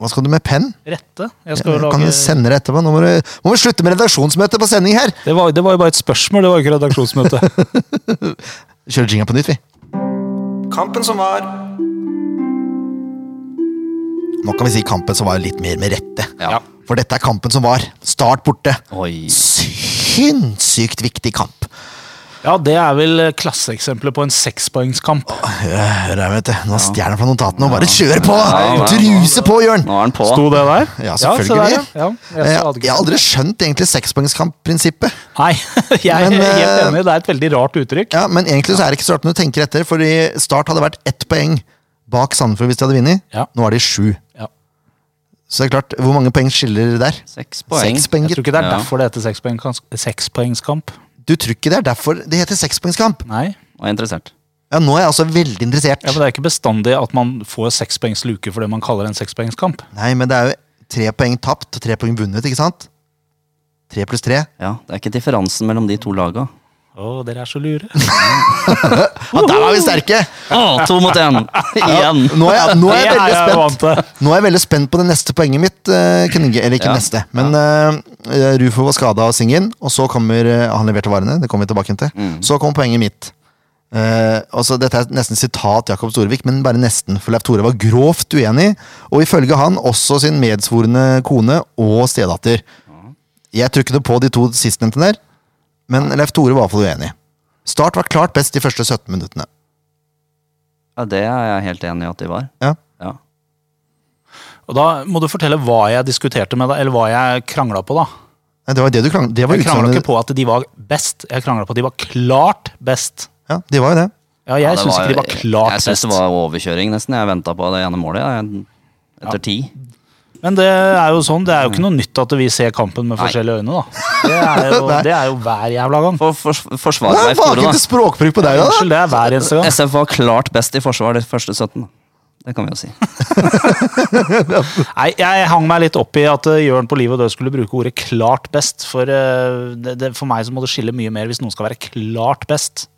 Hva skal du med penn?
Rette? Jeg skal jo
Jeg kan
lage
jo sende det etterpå. Nå må du, må du slutte med redaksjonsmøte på sending her!
det var, det var jo bare et spørsmål, det var jo ikke redaksjonsmøte.
Kjører jinga på nytt, vi.
Kampen som var.
Nå kan vi si kampen som var litt mer med rette.
Ja.
For dette er kampen som var. Start borte.
Oi.
Sinnssykt viktig kamp.
Ja, det er vel klasseeksempler på en sekspoengskamp.
Hør her, vet du. Nå stjeler han fra notatene og bare kjør på!
Ja, ja, ja.
Druse på, Jørn!
Nå er han på.
Sto det der?
Ja, selvfølgelig.
Ja, se der, ja. ja,
Eh,
jeg skal
Jeg har
adgre-
aldri skjønt egentlig sekspoengskamprinsippet.
Nei, jeg er helt
Men, eh,
enig. Det er et veldig rart uttrykk.
Ja, men egentlig så er det ikke så rart når du tenker etter, fordi Start hadde vært ett poeng bak Sandefjord hvis de hadde vunnet.
Ja.
Nå er de sju.
Ja.
Så det er klart, hvor mange poeng skiller det der?
Seks poeng.
Seks poeng.
Jeg tror ikke det er
Ja.
derfor det heter sekspoengkans- sekspoengskamp.
Du tror ikke det er derfor det heter sekspoengskamp?
Nei.
Og er interessert.
Ja, nå er jeg altså veldig interessert.
Ja, men det er ikke bestandig at man får sekspoengsluke for det man kaller en sekspoengskamp.
Nei, men det er jo tre poeng tapt og tre poeng vunnet, ikke sant? Tre pluss tre.
Ja, Det er ikke differansen mellom de to laga.
Å, dere er så lure.
Ja, der var vi sterke!
Å, Ah, to mot én! Igjen!
Nå er jeg, nå er jeg
Det er
veldig
jeg vant
spent.
til.
Nå er jeg veldig spent på det neste poenget mitt. eh, Kninge, eller ikke
Ja.
neste, men eh, Rufo var skada av Singen, og så kommer eh, Han leverte varene, det kommer vi tilbake til. Så kommer poenget mitt. Eh, altså, dette er nesten sitat Jakob Storvik, men bare nesten. For Leif Tore var grovt uenig, og ifølge han også sin medsvorne kone og stedatter. Jeg tror ikke noe på de to sistnevnte der, men Leif Tore var i hvert fall uenig. Start var klart best de første 17 minuttene.
Ja, Det er jeg helt enig i at de var.
Ja.
Ja.
Og da må du fortelle hva jeg diskuterte med deg, eller hva jeg krangla på, da.
Nei, Det var det du krang det var
Jeg krangla
utsagnet-
ikke på at de var best, jeg krangla på at de var klart best.
Ja, de var jo det.
Ja, jeg
Ja, det
syns ikke de var
Jeg
klart
synes
best.
det var overkjøring, nesten. Jeg venta på det ene målet. jeg. Etter ti.
Men det er jo sånn, det er jo ikke noe nytt at vi ser kampen med
Nei.
forskjellige øyne, da. Det er jo, det er jo hver jævla gang.
For, for, forsvar
Hva
meg,
er faen
Tore, da.
ikke språkbruk på deg, da?
Unnskyld, det er hver eneste gang.
SF var klart best i forsvar de første 17. da. Det kan vi jo si.
Nei, jeg hang meg litt opp i at eh, Jørn på liv og død skulle bruke ordet 'klart best'. For, eh, det, det, for meg så må det skille mye mer hvis noen skal være klart best.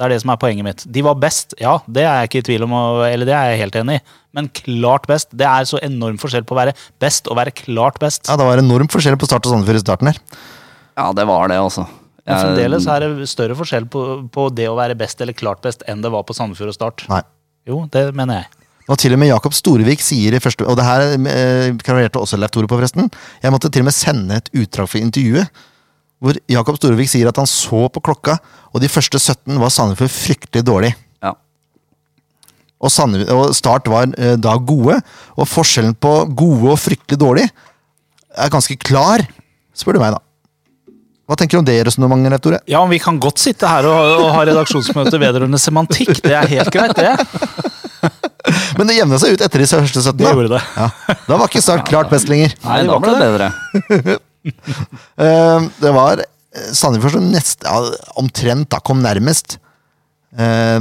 Det er det som er poenget mitt. De var best, ja, det er jeg ikke i tvil om, og- eller det er jeg helt enig i. Men klart best, det er så enorm forskjell på å være best og være klart best.
Ja, Det var enormt forskjell på Start og Sandefjord i starten her.
Ja, det var det, altså.
Men
Jeg-
fremdeles er det større forskjell på, på det å være best eller klart best enn det var på Sandefjord og Start.
Nei.
Jo, det mener jeg.
Og til og med Jakob Storevik sier i første Og det her eh, klarerte også Leif Tore på, forresten. Jeg måtte til og med sende et utdrag for intervjuet. Hvor Jakob Storevik sier at han så på klokka, og de første 17 var Sandefjord fryktelig dårlig.
Ja.
Og, Sandef- og Start var eh, da gode. Og forskjellen på gode og fryktelig dårlig er ganske klar, spør du meg, da. Hva tenker du om det resonnementet, Leif Tore?
Ja, men vi kan godt sitte her og, og ha redaksjonsmøte vedrørende semantikk. Det er helt greit, det.
Men det jevna seg ut etter de første 17.
Det
Da,
gjorde det.
ja, da var ikke Start klart best lenger.
Nei,
det
da
var
ble det bedre.
Eh, det var eh, Sandefjord som nest, ja, omtrent da kom nærmest. Eh,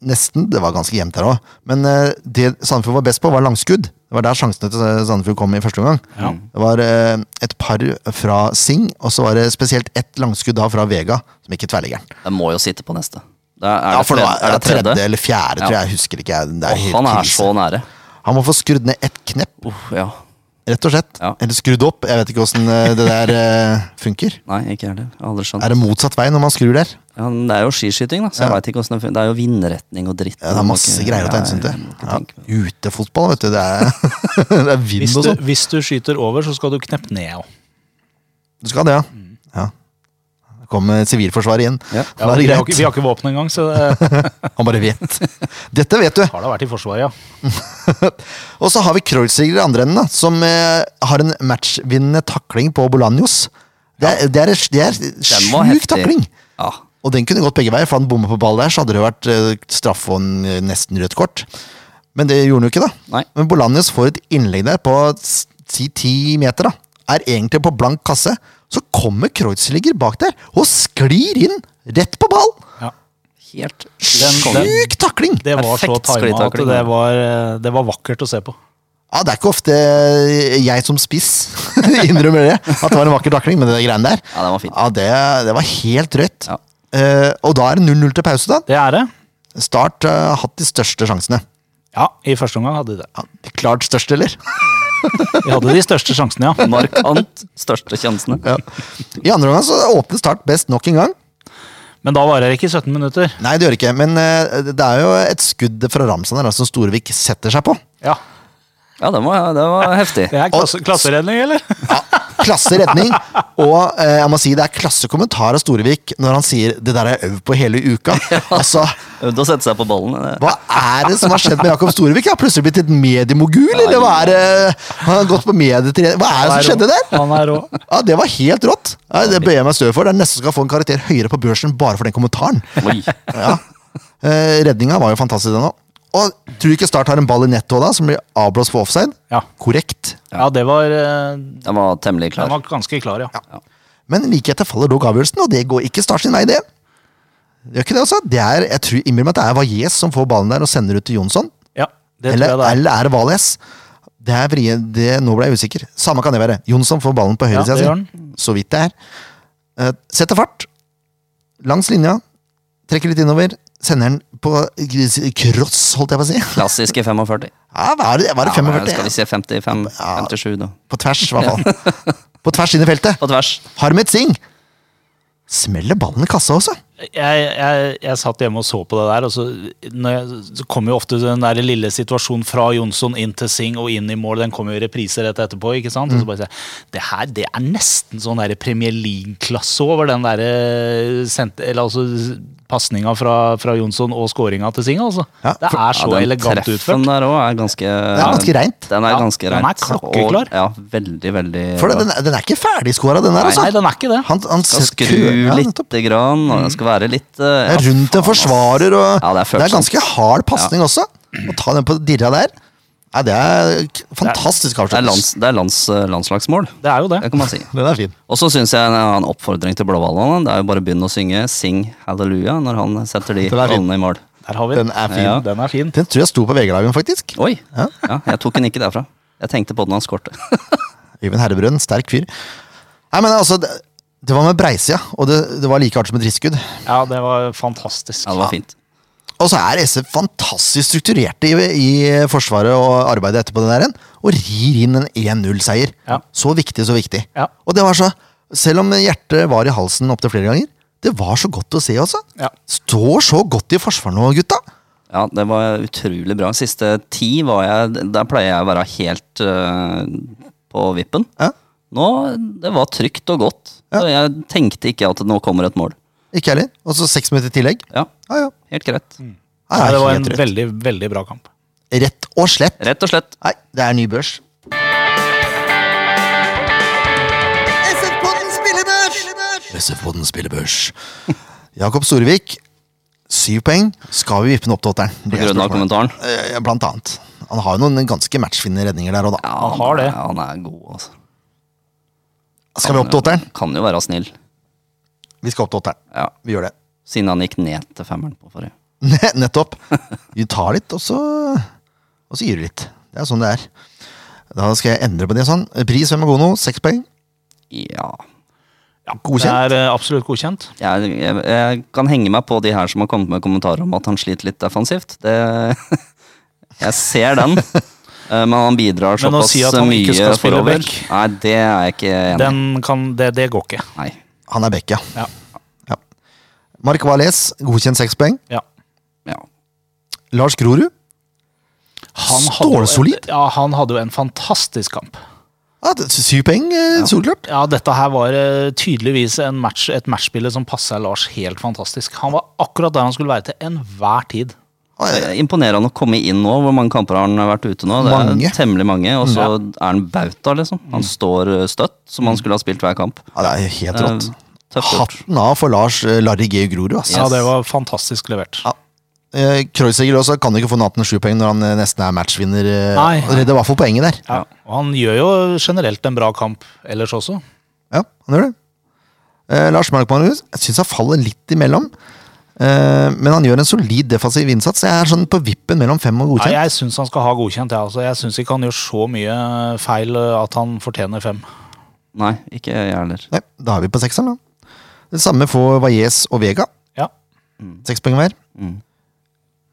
nesten. Det var ganske jevnt der òg. Men eh, det Sandefjord var best på, var langskudd. Det var der sjansene til Sandefjord kom i første omgang. Det var eh, et par fra Sing, og så var det spesielt ett langskudd da fra Vega, som gikk i tverrliggeren.
Jeg må jo sitte på neste. Det er, er
Ja,
det
for nå
tredje-
er det tredje eller fjerde, tror
Ja.
jeg. Jeg husker ikke. jeg. Det er
Åh,
helt
han er
krise.
så nære.
Han må få skrudd ned ett knepp,
Uff, ja.
rett og slett.
Ja.
Eller skrudd opp. Jeg vet ikke åssen det der eh, funker.
Nei, ikke jeg heller. Jeg har Aldri skjønt.
Er det motsatt vei når man skrur der?
Ja, men det er jo skiskyting, da, så jeg vet ikke hvordan det fungerer. Det er jo vindretning og dritt.
Ja, det er masse greier å ta hensyn til. Ja,
Ja.
Utefotball, vet du. Det er, det er vind
Hvis
og
du,
sånn.
hvis du skyter over, så skal du kneppe ned òg.
Du skal det, ja.
Mm.
ja. Der Kommer Sivilforsvaret igjen.
Ja.
Da er det
vi, har ikke-
greit.
vi har ikke våpen engang, så det
Han bare vet. Dette vet du.
har da vært i Forsvaret, ja.
Og så har vi Kreuzriger i andre enden, da, som eh, har en matchvinnende takling på Bolanjos. Det er, det er, det er
Den var heftig.
sjuk takling!
Ja.
Og den kunne gått begge veier, for han bomma på ball der, så hadde det vært eh, straff og en, eh, nesten rødt kort. Men det gjorde han jo ikke, da.
Nei.
Men Bolanjos får et innlegg der på s- si ti meter, da. Er egentlig på blank kasse. Så kommer Kreuzlinger bak der og sklir inn rett på ball!
ja.
Helt
Den- den-
Sjuk takling!
Det var
Perfekt
så tima at
sklitakling,
det
ja.
var, eh, det var vakkert å se på.
Ja, det er ikke ofte eh, jeg som spiss innrømmer det, at det var en vakker takling, men det greiene der
Ja, den var fin.
Ja, det, det var helt rødt.
Ja.
Eh, og da er det 0-0 til pause, da.
Det er det.
Start eh, har hatt de største sjansene.
Ja, i første omgang hadde de det.
Ja, de klart størst, eller?
Vi hadde de største sjansene, ja.
Markant største sjansene.
Ja. I andre omgang så åpner Start best nok en gang.
Men da varer det ikke 17 minutter.
Nei, det gjør det ikke, men eh, det er jo et skudd fra Ramsan her da, som Storevik setter seg på.
Ja.
Ja, det var, det var heftig.
Det er klasse, klasseredning, eller?
Ja, klasse redning, og eh, jeg må si det er klassekommentar av Storevik når han sier 'det der har jeg øvd på hele uka'. Altså,
Øvde å sette seg på ballen. eh, det-
hva er det som har skjedd med Jakob Storevik? Har han plutselig blitt et mediemogul, eller hva er det han har gått på medietrening? Hva er det som skjedde der?
Han er rå.
Ja, Det var helt rått. Ja, det bøyer jeg meg støv for. Det er nesten så skal jeg få en karakter høyere på børsen bare for den kommentaren.
Oi.
Ja. Eh, redninga var jo fantastisk, den òg. Og tror du ikke Start har en ball i nettet også da, som blir avblåst for offside?
Ja.
Korrekt.
Ja, det var eh,
Den var temmelig
Den
klar.
var ganske klar, ja.
Men like etter faller dog avgjørelsen, og det går ikke Start sin vei, det. Det Gjør ikke det også? Det er, jeg tror innbill meg at det er Valles som får ballen der og sender ut til Jonsson.
Ja, det tror
Eller,
jeg det er.
eller er det Valles? Det er vrie, det, nå ble jeg usikker. Samme kan det være. Jonsson får ballen på
Ja,
høyresida
det gjør
ja,
han.
si. Så vidt det er. Eh, setter fart. Langs linja. Trekker litt innover. Sender den på eh, cross, holdt jeg på å si.
Klassiske 45.
Ja, hva er det, var det
Ja, men
45?
skal vi si 55? 57, da.
På tvers, i hvert fall. På tvers inn i feltet.
På tvers.
Harmet Singh smeller ballen i kassa også.
jeg, jeg, jeg satt hjemme og så på det der, og så, når jeg, så kom jo ofte den der lille situasjonen fra Jonsson inn til Sing og inn i mål. Den kom jo i reprise rett etterpå. ikke sant?
Mm.
Og så bare sier jeg, Det her det er nesten sånn der Premier League-klasse over den derre sent- Eller altså pasninga fra, fra Jonsson og skåringa til Sing, altså.
Ja,
det er så
den
elegant
treffen
utført.
der òg er ganske
Det er ganske reint.
Den er
Ja,
ganske
den er
reint.
klokkeklar.
Og- Ja, veldig, veldig
For
bra.
den, den er ikke ferdigskåra, den der, altså.
Nei, den er ikke det.
Han, han
skal
set-
skru
ja,
litt,
nettopp.
grann, og det skal være litt
Det
eh,
er
ja,
rundt en
faen, ass.
forsvarer, og
Ja, det er
det er
følsomt.
ganske hard pasning også. Å ta den på dirra der. Nei, det er k- fantastisk
Det er,
avslutning.
lands, det er lands, landslagsmål,
Det er jo det.
det kan man si.
Den er fin.
Og så syns jeg en annen oppfordring til blåhvalene det er jo bare å begynne å synge 'Sing Hallelujah' når han setter de
Den er fin.
ballene i mål.
Der har vi
Den er fin.
Ja.
Den er fin.
Den tror jeg sto på VG-dagen, faktisk.
Oi!
Ja.
Ja, jeg tok den ikke derfra. Jeg tenkte på den han skårte.
Øyvind Herrebrønn, sterk fyr. Nei, men altså, det, det var med breisida, og det, det var like hardt som et ristskudd.
Ja, det var fantastisk.
Ja, det var fint.
Og så er SF fantastisk strukturerte i, i forsvaret og arbeidet etterpå. den der igjen, Og rir inn en 1-0-seier.
Ja.
Så viktig, så viktig.
Ja.
Og det var så, selv om hjertet var i halsen opptil flere ganger, det var så godt å se også.
Ja.
Står så godt i forsvar nå, gutta.
Ja, det var utrolig bra. Siste ti var jeg Der pleier jeg å være helt eh, på vippen.
Ja.
Nå Det var trygt og godt.
Ja.
Så jeg tenkte ikke at nå kommer et mål.
Ikke heller. Og så seks minutter i tillegg.
Ja,
Ja, ja.
helt greit.
Mm.
Nei,
det var en
helt rett.
veldig, veldig bra kamp.
rett og slett.
Rett og slett.
Nei, det er ny børs. SF-podden spillebørs! SF-podden spillebørs. Jakob Storvik, syv poeng. Skal vi vippe den opp til åtteren? Det er
Grunna
spørsmålet.
kommentaren.
Eh, Blant annet. Han har jo noen ganske matchfinnende redninger der og da.
Ja,
Han har det.
er- Han er god, altså.
Skal vi opp til åtteren?
Kan jo være snill.
Vi skal opp til åtteren.
Ja.
Vi gjør det.
Siden han gikk ned til femmeren på forrige.
Ne- Nettopp. Vi tar litt, og så, og så gir du litt. Det er sånn det er. Da skal jeg endre på det sånn. Pris, hvem er god nå? Seks poeng.
Ja.
Det
Godkjent.
er eh, absolutt godkjent.
Jeg, jeg, jeg kan henge meg på de her som har kommet med kommentarer om at han sliter litt defensivt. Det, jeg ser den. Eh, Men han bidrar
Men å
såpass
si at han
mye
ikke skal spille
forover.
back?
Nei, det er jeg ikke enig i.
Den kan, det, det går ikke.
Nei.
Han er back, ja.
Ja.
Ja. Mark Valles, godkjent seks poeng.
Ja.
Ja.
Lars Grorud,
Han hadde jo en-
Stålsolid.
Ja, han hadde jo en fantastisk kamp.
ja, det- syv poeng, eh, solklart.
Ja, dette her var eh, tydeligvis en match, et matchbilde som passa Lars helt fantastisk. Han var akkurat der han skulle være til enhver tid.
Det er Imponerende å komme inn nå. Hvor mange kamper har han vært ute nå? Det er
Mange.
Temmelig mange. Og så er han bauta, liksom. Han står eh, støtt, som han skulle ha spilt hver kamp.
Ja, det er helt rått.
Eh, Tøft gjort.
Hatten av for Lars eh, Larry G. Grorud. ass.
Ja, det var fantastisk levert.
Ja. Eh, Kreuziger også kan ikke få noe annet enn sju poeng når han eh, nesten er matchvinner. eh,
Nei.
Og redder i hvert fall poenget der.
Ja. Og han gjør jo generelt en bra kamp ellers også.
Ja, han gjør det. Eh, Lars Markmann-Ruud, jeg syns han faller litt imellom. Eh, men han gjør en solid defensiv innsats. Jeg er sånn på vippen mellom fem og
Nei,
godkjent.
jeg syns han skal ha godkjent. Jeg, altså. jeg syns ikke han gjør så mye feil eh, at han fortjener fem.
Nei, ikke jeg heller.
Nei, da er vi på sekseren, da. Det samme får Valles og Vega.
Ja.
Seks poeng hver.
Mm.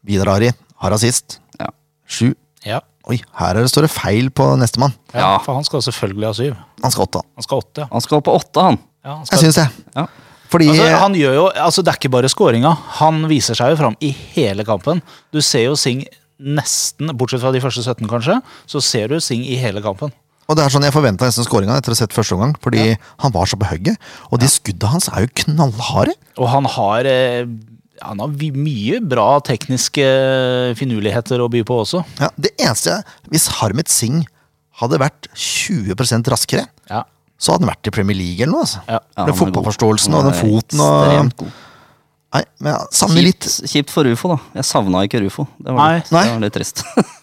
Vidar Ari har assist.
Ja.
Sju.
Ja.
Oi, her er det står det feil på nestemann.
Ja,
Ja.
For han skal selvfølgelig ha syv.
Han skal åtte. han.
Han skal ha åtte, ja.
Han skal opp på åtte, han.
ja han
Jeg
skal...
syns det.
Ja.
Fordi
Altså, han gjør jo, altså, det er ikke bare skåringa. Han viser seg jo fram i hele kampen. Du ser jo Singh nesten, bortsett fra de første 17, kanskje, så ser du Singh i hele kampen.
Og det er sånn jeg forventa nesten skåringa etter å ha sett første omgang, fordi han var så på hugget. Og de skudda hans er jo knallharde.
Og han har eh, han har vi- mye bra tekniske eh, finurligheter å by på også.
Ja, det eneste Hvis Harmet Singh hadde vært 20 raskere,
Ja.
så hadde han vært i Premier League eller noe. altså.
Ja.
Den
Ja, han er god.
fotballforståelsen
Han
og den
er
foten og
ekstremt god.
Nei, men jeg savner litt
Kjipt, kjipt for Rufo, da. Jeg savna ikke Rufo. Det var,
Nei.
litt,
Nei.
Det var litt trist.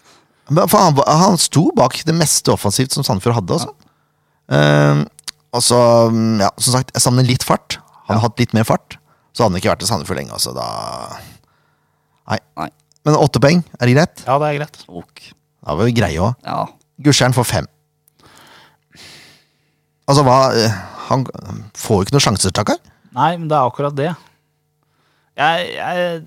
Men For han, var- han sto bak det meste offensivt som Sandefjord hadde, altså. Ehm, og så, mm, ja, som sagt, jeg savner litt fart. Han har hatt litt mer fart, så hadde han ikke vært i Sandefjord lenge, altså. Da Nei.
Nei.
Men åtte poeng, er det greit?
ja, det er greit.
Ok.
Da var vi greie òg.
Ja.
Gusseren får fem. Altså, hva eh, Han får jo ikke noen sjanser, stakkar.
Nei, men det er akkurat det. Jeg, jeg,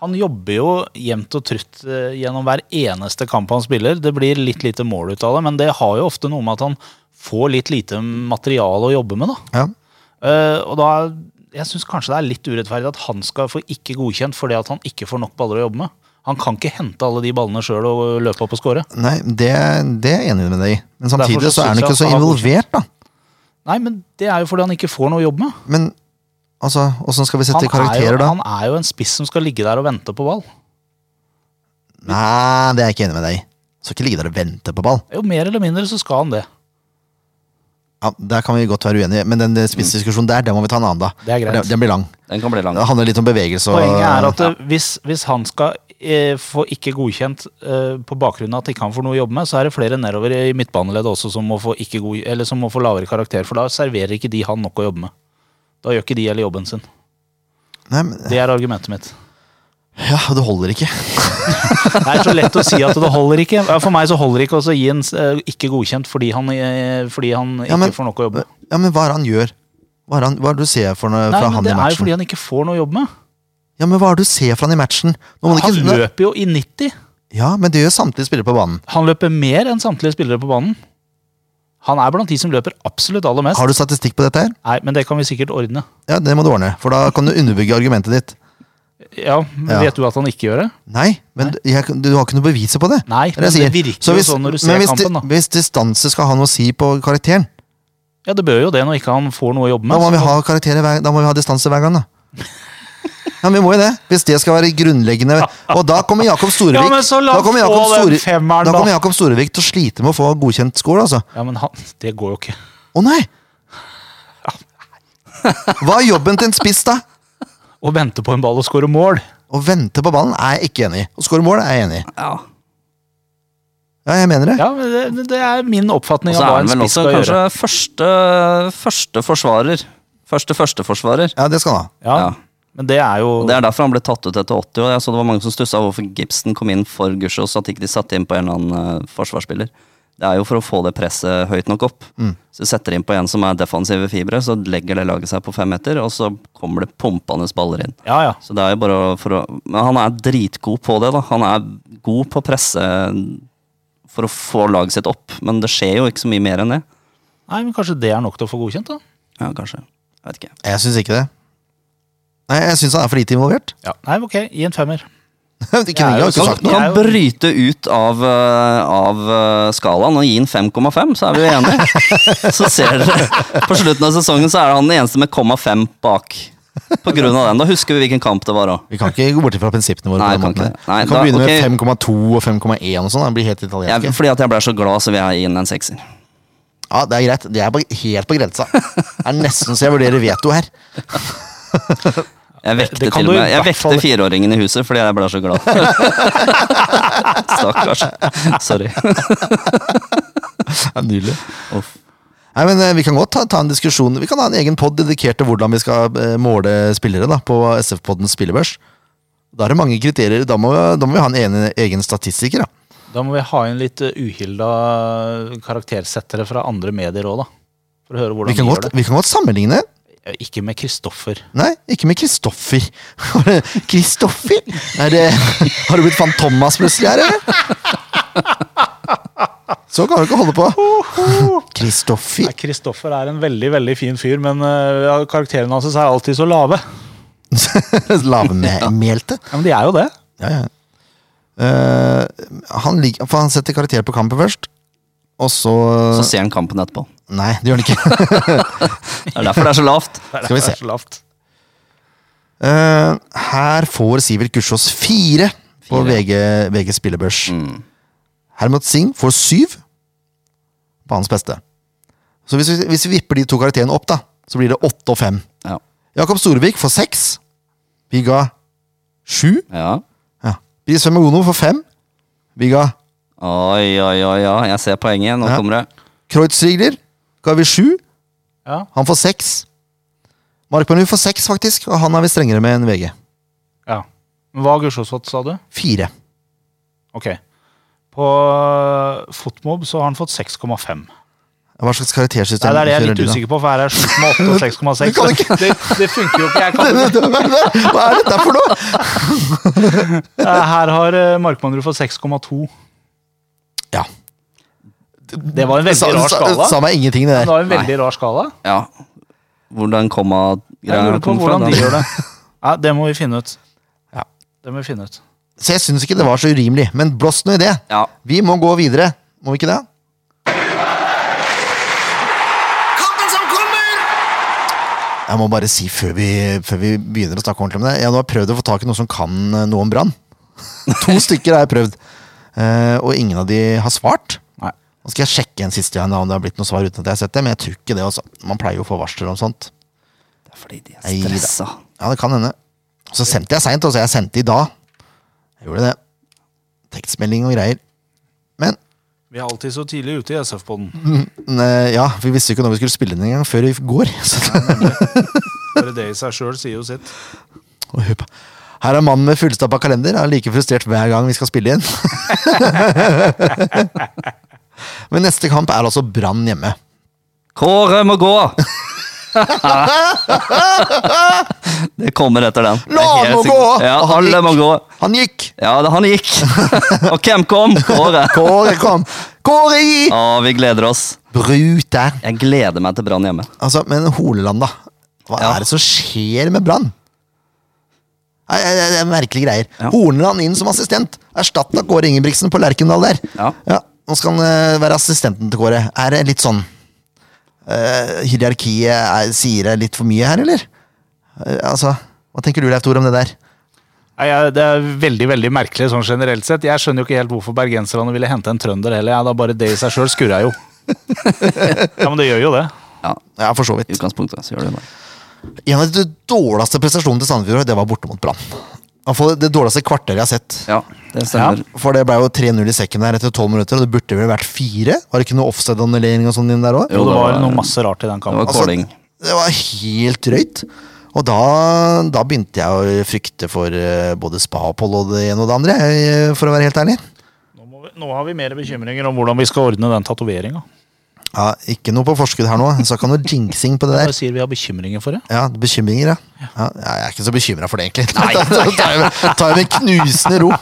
han jobber jo jevnt og trutt eh, gjennom hver eneste kamp han spiller. Det blir litt lite mål ut av det, men det har jo ofte noe med at han får litt lite materiale å jobbe med. da.
Ja.
Eh, og da, Jeg syns kanskje det er litt urettferdig at han skal få ikke godkjent fordi at han ikke får nok baller å jobbe med. Han kan ikke hente alle de ballene sjøl og løpe opp og score.
Nei, det, det er jeg enig med deg i. Men samtidig
Derfor så
så er han
synes jeg
ikke så
at han har
involvert, da.
Nei, men det er jo fordi han ikke får noe å jobbe med.
Men altså, åssen skal vi
Han
sette
er, jo,
karakterer, da?
han er jo en spiss som skal ligge der og vente på ball.
Nei, det er jeg ikke enig med deg i. Skal ikke ligge der og vente på ball.
Jo mer eller mindre så skal han det.
Ja, Der kan vi godt være uenige, men den eh, spissdiskusjonen der, den må vi ta en annen, da.
Det er greit.
For Den, den blir lang.
Den kan bli lang.
Det handler litt om bevegelse og
Poenget er at eh, hvis, hvis han skal eh, får ikke godkjent eh, på bakgrunn av at ikke han får noe å jobbe med, så er det flere nedover i midtbaneleddet også som må, få ikke god, eller som må få lavere karakter. For da serverer ikke de han nok å jobbe med. Da gjør ikke de heller jobben sin.
Nei, men,
Det er argumentet mitt.
ja, det holder ikke.
Det er så lett å si at det holder ikke. Ja, For meg så holder det ikke også å gi en eh, ikke godkjent fordi han, eh, fordi han ikke
Ja, men-
får nok å jobbe med.
Ja, men hva er det han gjør? Hva er, det han, hva er det du ser for noe,
Nei,
fra
men
han
Det
i
er jo
matchen?
fordi han ikke får noe å jobbe med.
Ja, men hva er det du ser fra han i matchen? Nå må
Han
du ikke, nå,
løper jo i 90.
ja, men det gjør samtlige spillere på banen.
Han løper mer enn samtlige spillere på banen. Han er blant de som løper absolutt aller mest.
Har du statistikk på dette her?
Nei, men det kan vi sikkert ordne.
Ja, det må du ordne, for da kan du underbygge argumentet ditt.
Ja, men
Ja.
Vet du at han ikke gjør det?
Nei, men Jeg, du har ikke noe beviser på det.
Nei, men
er det jeg
det
sier.
virker
Så
jo
hvis-
sånn når du
men
ser
hvis, di-
kampen, da.
Hvis distanse skal ha noe å si på karakteren,
Ja, det bør jo det når ikke han får noe å jobbe
da
med.
må vi
Så-
ha, karakterer hver, da må vi ha distanse hver gang, da. Ja, men vi må jo det, Hvis det skal være grunnleggende Og da kommer Jakob Storevik
Ja, men så la
da kommer
han få
Jakob
den
Store-
femmeren,
da
da.
kommer Jakob Storevik til å slite med å få godkjent skål, altså.
Ja, men han, Det går jo ikke.
Å nei! Hva er jobben til en spiss, da?
Å vente på en ball og score mål.
Å vente på ballen er jeg ikke enig i. Å skåre mål er jeg enig i.
Ja.
Ja, jeg mener det.
Ja, men det, det er min oppfatning
Og så
av hva
er
en
han vel
spiss
også
skal
kanskje
gjøre.
første, første forsvarer. Første førsteforsvarer.
Ja, det skal han ha.
Ja,
Ja.
Men det er jo
Og Det er derfor han ble tatt ut etter 80, og jeg så det var mange som stussa hvorfor Gibson kom inn for Gussiås, at ikke de satte inn på en eller annen eh, forsvarsspiller. Det er jo for å få det presset høyt nok opp. Så du setter inn på en som er defensive fibre, så legger det laget seg på fem meter, og så kommer det pumpende baller inn.
Ja, ja.
Så det er jo bare å- for å Men han er dritgod på det, da. Han er god på å presse eh, for å få laget sitt opp, men det skjer jo ikke så mye mer enn det.
Nei, men Kanskje det er nok til å få godkjent, da.
Ja, kanskje. Jeg vet ikke.
Jeg syns ikke det. Nei, jeg syns han er for lite involvert.
Ja. Nei, men ok, gi en femmer.
Ikke, jeg
er
har
jo
ikke
sånn.
sagt noe.
Jeg
Kan
er jo-
bryte ut av, eh, av eh, skalaen og gi den 5,5, så er vi jo enige. Så ser dere På slutten av sesongen så er han den eneste med 0,5 bak. På grunn av den. Da husker vi hvilken kamp det var òg.
Vi kan ikke gå bort fra prinsippene våre.
Nei,
på den
kan
måten her.
ikke det. Nei,
vi kan
da-
begynne
ok.
med 5,2 og 5,1 og sånn. da blir helt italienske.
Fordi at jeg ble så glad, så vil jeg gi den en sekser.
Ja, det er greit. Det er på- helt på grensa. Det er nesten så jeg vurderer veto her.
Jeg vekte,
Det kan du
til og
i
med, jeg
hvert
vekte
fall-
fireåringen i huset fordi jeg ble så glad. Stakkars. Sorry.
Nydelig.
Uff.
Nei, men eh, Vi kan godt ta, ta en diskusjon. Vi kan ha en egen pod dedikert til hvordan vi skal eh, måle spillere da, på SF-poddens spillebørs. Da er det mange kriterier. Da må, da må vi ha en ene, egen statistiker. da.
Da må vi ha inn litt eh, uhilda karaktersettere fra andre medier òg, da. For å høre
Vi
hvordan de
kan,
gjør
godt,
det.
vi kan godt sammenligne.
Eh, Ikke med Kristoffer.
Nei, ikke med Kristoffer. Kristoffer? Er det, har du blitt Fan Thomas plutselig her, eller? Så kan du ikke holde på. Kristoffer.
Nei, Kristoffer er en veldig veldig fin fyr, men eh, ja, karakterene hans er alltid så lave.
Lavmælte.
Ja, Men de er jo det.
Ja, ja. Eh, han, lik, for han setter karakter på kampen først, og så,
Så ser han kampen etterpå.
Nei, det gjør han ikke.
Det er derfor det er så lavt.
Skal vi se.
Det er så lavt.
Eh, her får Sivert Gussiås fire på VG, VG spillebørs.
Mm.
Hermod Singh får syv på hans beste. Så hvis vi, hvis vi vipper de to karakterene opp, da, så blir det åtte og fem.
Ja.
Jakob Storevik får seks. Vi ga sju.
ja.
Ja. Bris Femagono får fem. Vi ga
Oi, oi, oi, ja. Jeg ser poenget. Nå
Ja.
kommer det.
Kreutzrigler ga vi sju.
Ja.
Han får seks. Markmanu får seks, faktisk, og han er vi strengere med enn VG.
ja. Men Hva har Gulsås fått, sa du?
Fire.
Ok. På eh, Fotmob så har han fått 6,5.
Hva slags
Nei,
karaktersystem
det er det jeg er
kjører
litt
du, da?
usikker på, for her er 7,8 og 6,6.
Du kan ikke-
Det, det funker jo ikke. Jeg kan ikke.
Hva er dette for noe?!
Her har eh, Markmannrud fått 6,2.
Ja.
Det var en veldig rar skala.
Sa meg ingenting, det
Det
der.
var en veldig rar skala.
Ja. Hvordan
Jeg
komma-greia
lurer på
kom fra?
hvordan de
den.
gjør det. Ja, det må vi finne ut.
Ja.
Det må vi finne ut.
Så jeg syns ikke det var så urimelig, men blås nå i det.
Ja.
Vi må gå videre, må vi ikke det?
Kampen som kommer!
Jeg må bare si før vi, før vi begynner å snakke ordentlig om det Jeg nå har prøvd å få tak i noen som kan eh, noe om brann. To stykker har jeg prøvd, Eh, og ingen av de har svart.
Nei.
Nå skal jeg sjekke en siste gang da, om det har blitt noe svar uten at jeg har sett det, men jeg tror ikke det. altså. Man pleier jo å få varsler om sånt.
Det er fordi de er
Nei da.
stressa.
Ja, det kan hende. Så sendte jeg seint, altså. Jeg sendte i dag. Gjorde det. Tekstmelding og greier. Men
Vi er alltid så tidlig ute i SF-poden.
ne, eh, ja, vi visste jo ikke når vi skulle spille den engang før i går. Så
Bare det i seg sjøl sier jo sitt.
Og hun ba- Her er mannen med fullstappa kalender. Han er like frustrert hver gang vi skal spille inn. Men neste kamp er altså Brann hjemme.
Kåre må gå! det kommer etter den.
La han
Jeg er helt
må
sikker.
gå!
Ja,
Og han
alle
gikk.
må gå.
Han gikk!
Ja, det- han gikk. Og hvem kom? Kåre.
Kåre kom! Kåre i!
Å, vi gleder oss.
Brut der.
Jeg gleder meg til Brann hjemme.
Altså, men Holeland, da. Hva
Ja.
er det som skjer med Brann? Nei, Det det- det er merkelige greier.
Ja.
Horneland inn som assistent. Erstatta Kåre Ingebrigtsen på Lerkendal der.
Ja.
Nå skal han eh, være assistenten til Kåre. Er det litt sånn eh, Hierarkiet er, sier det litt for mye her, eller? Eh, altså, Hva tenker du, Leif Tore, om det der?
Nei, jeg, det er veldig veldig merkelig sånn generelt sett. Jeg skjønner jo ikke helt hvorfor bergenserne ville hente en trønder heller. Ja, da bare det i seg sjøl skurra jo. ja, men det gjør jo det.
Ja,
Ja, for så
I
vidt.
utgangspunktet så gjør det jo det.
En av de dårligste prestasjonene til Sandefjord, det var borte mot Brann. I hvert fall Det dårligste kvarteret jeg har sett.
Ja, det stemmer.
For det ble jo 3-0 i sekken der etter 12 minutter, og det burde vel vært fire? Var det ikke noe offside-annullering og sånn inn der òg?
Jo,
Og det
det
var
var-
noe masse rart i den
Det
kampen. Altså,
var calling.
Det var helt drøyt. Og da, da begynte jeg å frykte for eh, både spa-opphold og det ene og det andre, jeg, eh, for å være helt ærlig.
Nå, må vi, nå har vi mer bekymringer om hvordan vi skal ordne den tatoveringa.
Ja, ikke noe på forskudd her nå, så ikke ha noe jinxing på det der.
Bare sier vi har bekymringer for det.
Ja, Bekymringer, ja. ja. Jeg er ikke så bekymra for det, egentlig. Da tar jeg med- tar jeg med knusende ro.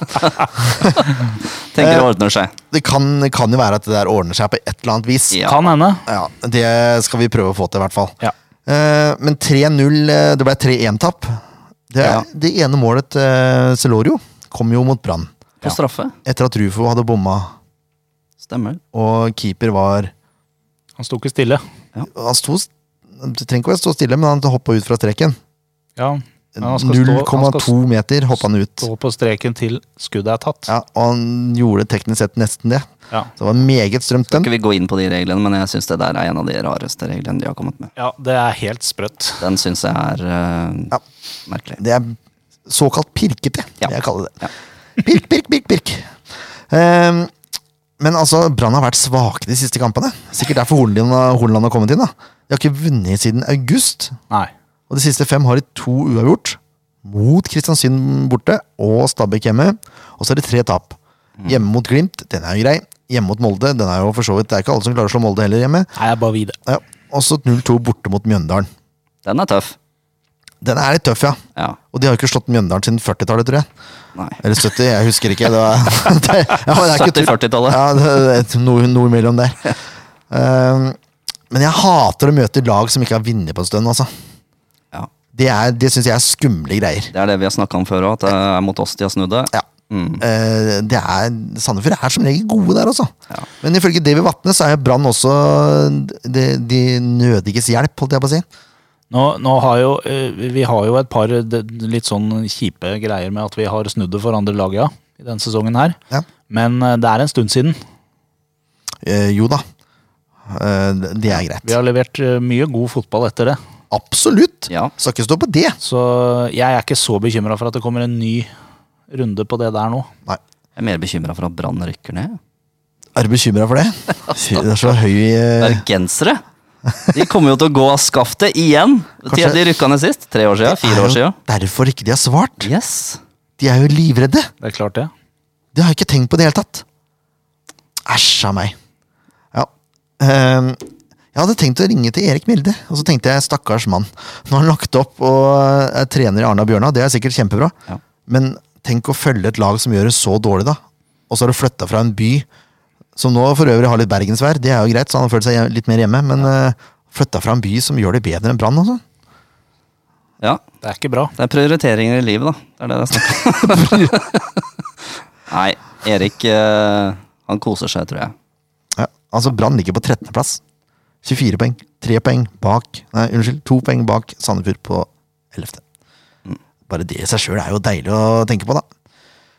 Tenker det ordner seg.
Det kan, kan jo være at det der ordner seg på et eller annet vis.
Ja.
Kan hende.
Ja, Det skal vi prøve å få til, i hvert fall.
Ja.
Eh, men 3-0 eh, Det ble 3-1-tap. Det,
Ja.
det ene målet til eh, Celorio kom jo mot Brann.
På straffe.
Etter at Rufo hadde bomma,
Stemmer.
og keeper var
Han sto ikke stille.
Han sto s- det trenger ikke å stå stille, men han hoppa ut fra streken.
Ja, men han skal stå- han
0,2
skal
meter hoppa han ut.
stå på streken til skuddet er tatt.
Ja, og han gjorde teknisk sett nesten det.
Ja.
Så det var meget strømt, den.
Ikke vi gå inn på de reglene, men jeg syns det der er en av de rareste reglene de har kommet med.
Ja, det er helt sprøtt.
Den syns jeg er eh,
Ja.
merkelig.
Det er såkalt pirkete,
Ja.
vil jeg kalle det.
Ja.
Pirk, pirk, pirk, pirk. Ehm, men altså, Brann har vært svake de siste kampene. Sikkert derfor Hornland Hornland har kommet inn. da. De har ikke vunnet siden august.
Nei.
Og de siste fem har de to uavgjort. Mot Kristiansund borte og Stabæk hjemme. Og så er det tre tap.
Mm.
Hjemme mot Glimt, den er jo grei. Hjemme mot Molde, den er jo for så vidt Det er ikke alle som klarer å slå Molde heller hjemme.
Nei, jeg bare videre.
Ja. Og så 0-2 borte mot Mjøndalen.
Den er tøff.
Den er litt tøff, ja.
Ja.
Og de har jo ikke slått Mjøndalen siden 40-tallet, tror jeg.
Nei.
Eller 70, jeg husker ikke. Det var, det, ja, men det er ikke tull.
70-40-tallet.
Ja, det, det, er noe, noe mellom der. Ehm, men jeg hater å møte lag som ikke har vunnet på en stund. Altså.
Ja.
Det, er- det syns jeg er skumle greier.
Det er det vi har snakka om før òg, at det er mot oss de har snudd det. Mm.
Ja. Eh, det er, Sandefjord er som regel gode der, altså.
Ja.
Men ifølge David Vatne så er Brann også de, de nødiges hjelp, holdt jeg på å si.
Nå, nå har jo, eh, vi har jo et par eh, det- litt sånn kjipe greier med at vi har snudd det for andre lag, ja. I denne sesongen her.
Ja.
Men eh, det er en stund siden.
Eh, jo da. Eh, det er
Vi
greit.
har levert eh, mye god fotball etter det.
Absolutt!
Ja.
Skal ikke stå på det.
Så jeg er ikke så bekymra for at det kommer en ny runde på det der nå.
Nei.
Jeg er mer bekymra for at Brann rykker
Eh.
ned.
Er du bekymra for det? Fy, Det er så høy eh,
Bergensere! De kommer jo til å gå av skaftet igjen! De,
Kanskje-
de rykka ned sist. Tre år sia? Fire
Det
år
er
sia?
jo Derfor ikke de har svart.
Yes.
De er jo livredde.
Det er klart det.
Det har jeg ikke tenkt på i det hele tatt. Æsj av meg. Ja. Ehm, jeg hadde tenkt å ringe til Erik Milde, og så tenkte jeg stakkars mann. Nå har han lagt opp og er trener i Arna Bjørnar, det er sikkert kjempebra.
Ja.
Men tenk å følge et lag som gjør det så dårlig, da. Og så har du flytta fra en by som nå for øvrig har litt bergensvær, det er jo greit, så han har følt seg hjem- litt mer hjemme, men ja. flytta fra en by som gjør det bedre enn Brann, altså.
Ja.
Det er ikke bra.
Det er prioriteringer i livet, da. Det er det det er snakk om. Nei, Erik eh, han koser seg, tror jeg.
Ja, altså Brann ligger på 13. plass. 24 poeng. 3 poeng bak Nei, unnskyld. 2 poeng bak Sandefjord på 11.
Mm.
Bare det i seg sjøl er jo deilig å tenke på, da.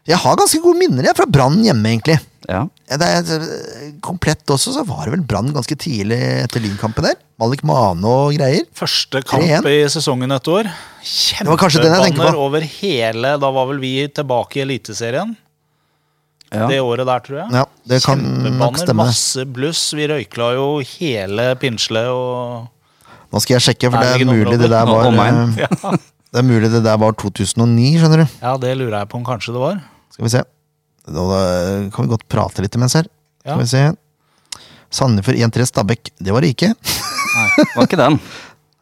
Jeg har ganske gode minner jeg, fra Brann hjemme, egentlig.
Ja.
Ja, Det er komplett også, så var det vel Brann ganske tidlig etter Lynkampen der. Malik Mane og greier.
Første kamp
3-1.
i sesongen et år.
var kanskje den jeg tenker
Kjempebanner
på.
over hele Da var vel vi tilbake i Eliteserien
Ja.
det året der, tror jeg.
Ja, det kan nok
Kjempebanner,
stemme.
masse bluss. Vi røykla jo hele Pinsle og
Nå skal jeg sjekke, for det er
Nærliggende
mulig det der
områder.
var
Omegn.
eh, Det er mulig det der var 2009, skjønner du.
Ja, det lurer jeg på om kanskje det var.
Skal vi se. Da da kan vi godt prate litt imens her.
Ja.
Skal vi se. Sandefjord 1-3 Stabæk. Det var det ikke.
Var ikke den.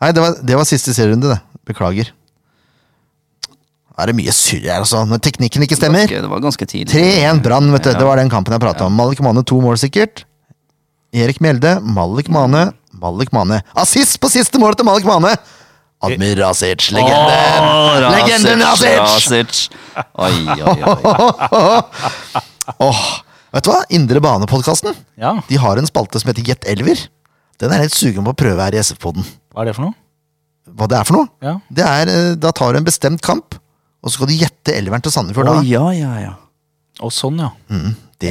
Nei, det var, det var siste serierunde, det. Beklager. Da er det mye surr her, altså. Når teknikken ikke stemmer.
Ganske, det var ganske tidlig.
3-1 Brann, vet du. Det var den kampen jeg prata om. Malik Mane to mål, sikkert. Erik Mjelde, Malik Mane, Malik Mane. Assist på siste målet til Malik Mane! Admir Rasic, legenden!
Åh,
Legenden Rasic!
Ah, Rasic! Oi, oi, oi.
Åh, vet du hva? Indre bane-podkasten.
Ja,
De har en spalte som heter Get Elver. Den er helt sugen på å prøve her i SF-poden.
Hva er det for noe?
Hva det er for noe?
Ja.
Det er, eh, Da tar du en bestemt kamp, og så skal du gjette elveren til Sandefjord. da.
Å, ja, ja, ja.
Og sånn, ja.
Det,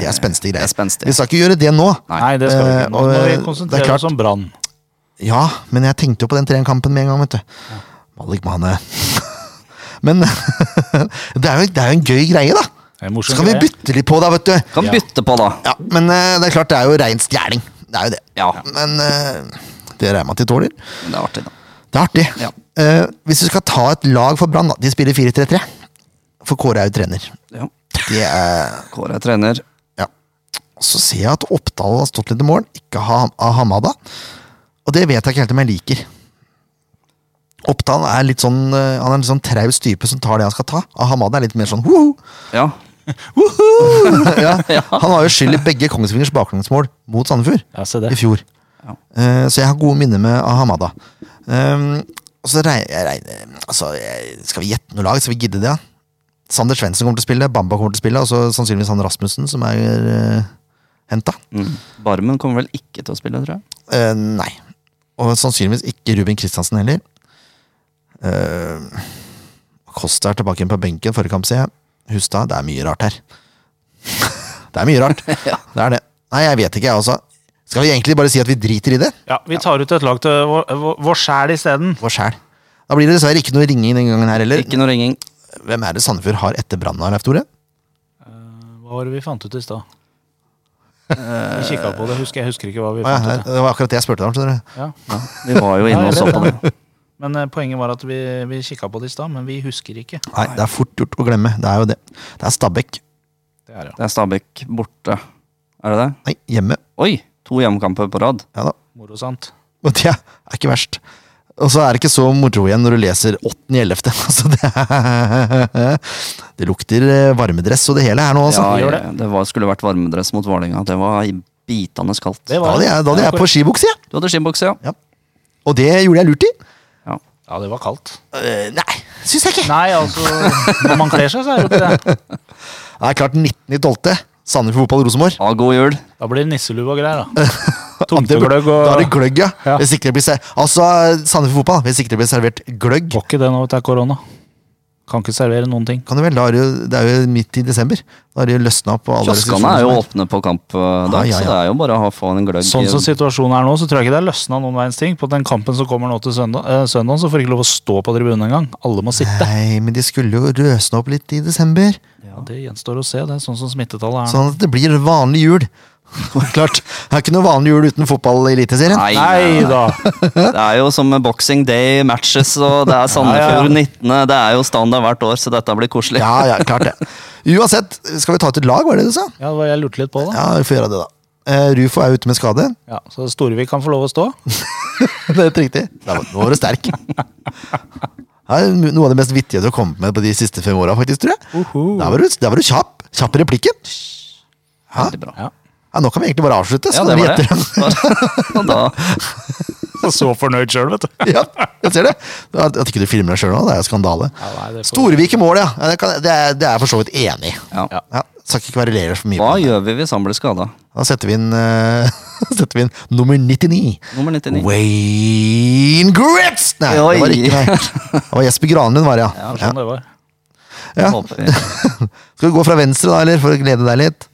det er spenstige
Det
greier.
er spenstig.
Vi skal ikke gjøre det nå.
Nei, det skal vi
Eh,
ikke. Nå
og,
må vi
eh, det er
konsentrere
klart.
oss om Brann.
Ja, men jeg tenkte jo på den trenerkampen med en gang, vet du. Malik Mane. men det, er jo, det er jo en gøy greie, da.
Det er en morsom
Så kan vi
greie.
bytte litt på, da, vet du.
Kan
Ja.
bytte på, da.
Ja, Men eh, det er klart, det er jo rein stjeling. Det er jo det.
Ja.
Men eh, det regner jeg med at de tåler.
Det er artig, da.
Det er artig.
Ja.
Eh, hvis du skal ta et lag for Brann, da. De spiller 4-3-3. For Kåre er jo trener.
Ja.
Det er
Kåre er trener.
Ja. Og Så ser jeg at Oppdal har stått litt i mål, ikke ha, av Hamada. Og det vet jeg ikke helt om jeg liker. Oppdal er litt sånn eh, Han er en litt sånn traus type som tar det han skal ta. Av Hamada er litt mer sånn hoho!
Ja.
ja. Han har jo skyld i begge Kongsvingers baklengsmål mot Sandefjord
Ja, se det.
i fjor.
Ja.
Eh, så jeg har gode minner med av Hamada. Um, og så regner jeg, regner, altså, jeg Skal vi gjette noe lag? Skal vi gidde det? ja? Sander Svendsen kommer til å spille, Bamba kommer til å spille, og så sannsynligvis han Rasmussen, som er uh, henta.
Mm. Barmen kommer vel ikke til å spille, tror jeg.
Eh, nei. Og sannsynligvis ikke Ruben Kristiansen heller. Uh, Kosta er tilbake igjen på benken forrige kamp, ser jeg. Hustad, det er mye rart her. det er mye rart. Det er det. Nei, jeg vet ikke, jeg også. Skal vi egentlig bare si at vi driter i det?
Ja, Vi tar ut et lag til vår- vår vår sjæl isteden.
Vår sjæl. Da blir det dessverre ikke noe ringing denne gangen her heller.
Ikke noe ringing.
Hvem er det Sandefjord har etter brannen, Leif Tore?
Hva var det vi fant ut i stad? Vi kikka på det, husker jeg husker ikke hva vi
Å ja,
fant ut.
det var akkurat det jeg spurte deg om. skjønner du.
Ja.
Vi var jo inne og så på det.
Men eh, poenget var at vi, vi kikka på det i stad, men vi husker ikke.
Nei, det er fort gjort å glemme. Det er jo det. Det er Stabæk.
Det er, ja.
Det er Stabæk borte. Er det det?
Nei, hjemme.
Oi! To hjemmekamper på rad.
Ja da.
Moro, sant?
Og det er ikke verst. Og så er det ikke så moro igjen når du leser 8.11. Altså, det, er- det lukter eh, varmedress og det hele her nå, altså.
Ja,
gjør
ja, det var, skulle vært varmedress mot Vålerenga. Det var bitende kaldt.
Det
Da
var
hadde jeg, da hadde jeg på skibukse, jeg.
Du hadde skinnbukse, ja.
Og det gjorde jeg lurt i.
ja.
Ja, det var kaldt.
Eh, nei, syns jeg ikke.
Nei, altså Når man kler seg, så er det jo ikke det.
Det er klart 19.12. Sandefjord fotball Rosenborg.
Ha god jul.
Da blir det nisselue og greier, da.
Ja, det-
Tomtegløgg og
Da er det gløgg, ja.
Ja.
Hvis ikke det blir ser... Altså, Sandefjord fotball, hvis ikke det blir servert gløgg,
Får ikke det nå, vet du, korona. Kan ikke servere noen ting.
kan du vel, da er det jo, det er jo midt i desember. Da har det jo løsna opp. og alle
Kioskene
restriksjoner
er jo
som
åpne på kampdag,
Ja, ja,
så
ja.
det er jo bare å ha- få en gløgg.
Sånn
i-
som situasjonen er nå, så tror jeg ikke det er løsna noen verdens ting. På den kampen som kommer nå til søndag, eh, søndag så får ikke lov å stå på tribunen engang. Alle må sitte.
Nei, men de skulle jo røsne opp litt i desember.
Ja, det gjenstår å se. Det er sånn som smittetallet er nå.
Sånn at det blir vanlig jul. Klart, Det er ikke noe vanlig jul uten fotball i Eliteserien.
Nei,
Nei da!
det er jo som med Boxing Day matches, og det er
Ja, ja.
Sandefjord 19. Det er jo standard hvert år, så dette blir koselig.
Ja, ja, klart det. Uansett, skal vi ta ut et lag, var det det du sa?
Ja, det var jeg lurte litt på, da.
Ja, vi får gjøre det, da. Eh, Rufo er ute med skade.
Ja, så Storevik kan få lov å stå.
Det er helt riktig. Da var- Nå var du sterk. Det er noe av det mest vittige du har kommet med på de siste fem åra, faktisk, tror jeg.
Uhu.
Der var du, der var du kjapp. Kjapp i replikken.
Veldig bra.
Ja.
Ja, nå kan vi egentlig bare avslutte.
Ja,
så
det
kan vi
var det.
gjette dem.
Og da,
Så fornøyd sjøl, vet du.
Ja, jeg ser det. At at ikke du filmer deg sjøl nå, det er jo skandale.
Ja, nei, det får-
Storvik i mål, ja. ja det, kan, det, er, det er jeg for så vidt enig i.
ja.
Ja, skal ikke kverulere for mye. på
Hva
det.
gjør vi hvis han blir skada?
Da setter vi inn, eh, setter vi inn nummer 99.
Nummer 99.
Wayne Grits! Nei, det var
Oi.
ikke nei. Det var Jesper Granlund, var det, ja.
Sånn det var.
ja.
Håper vi.
Skal vi gå fra venstre, da, eller? For å glede deg litt.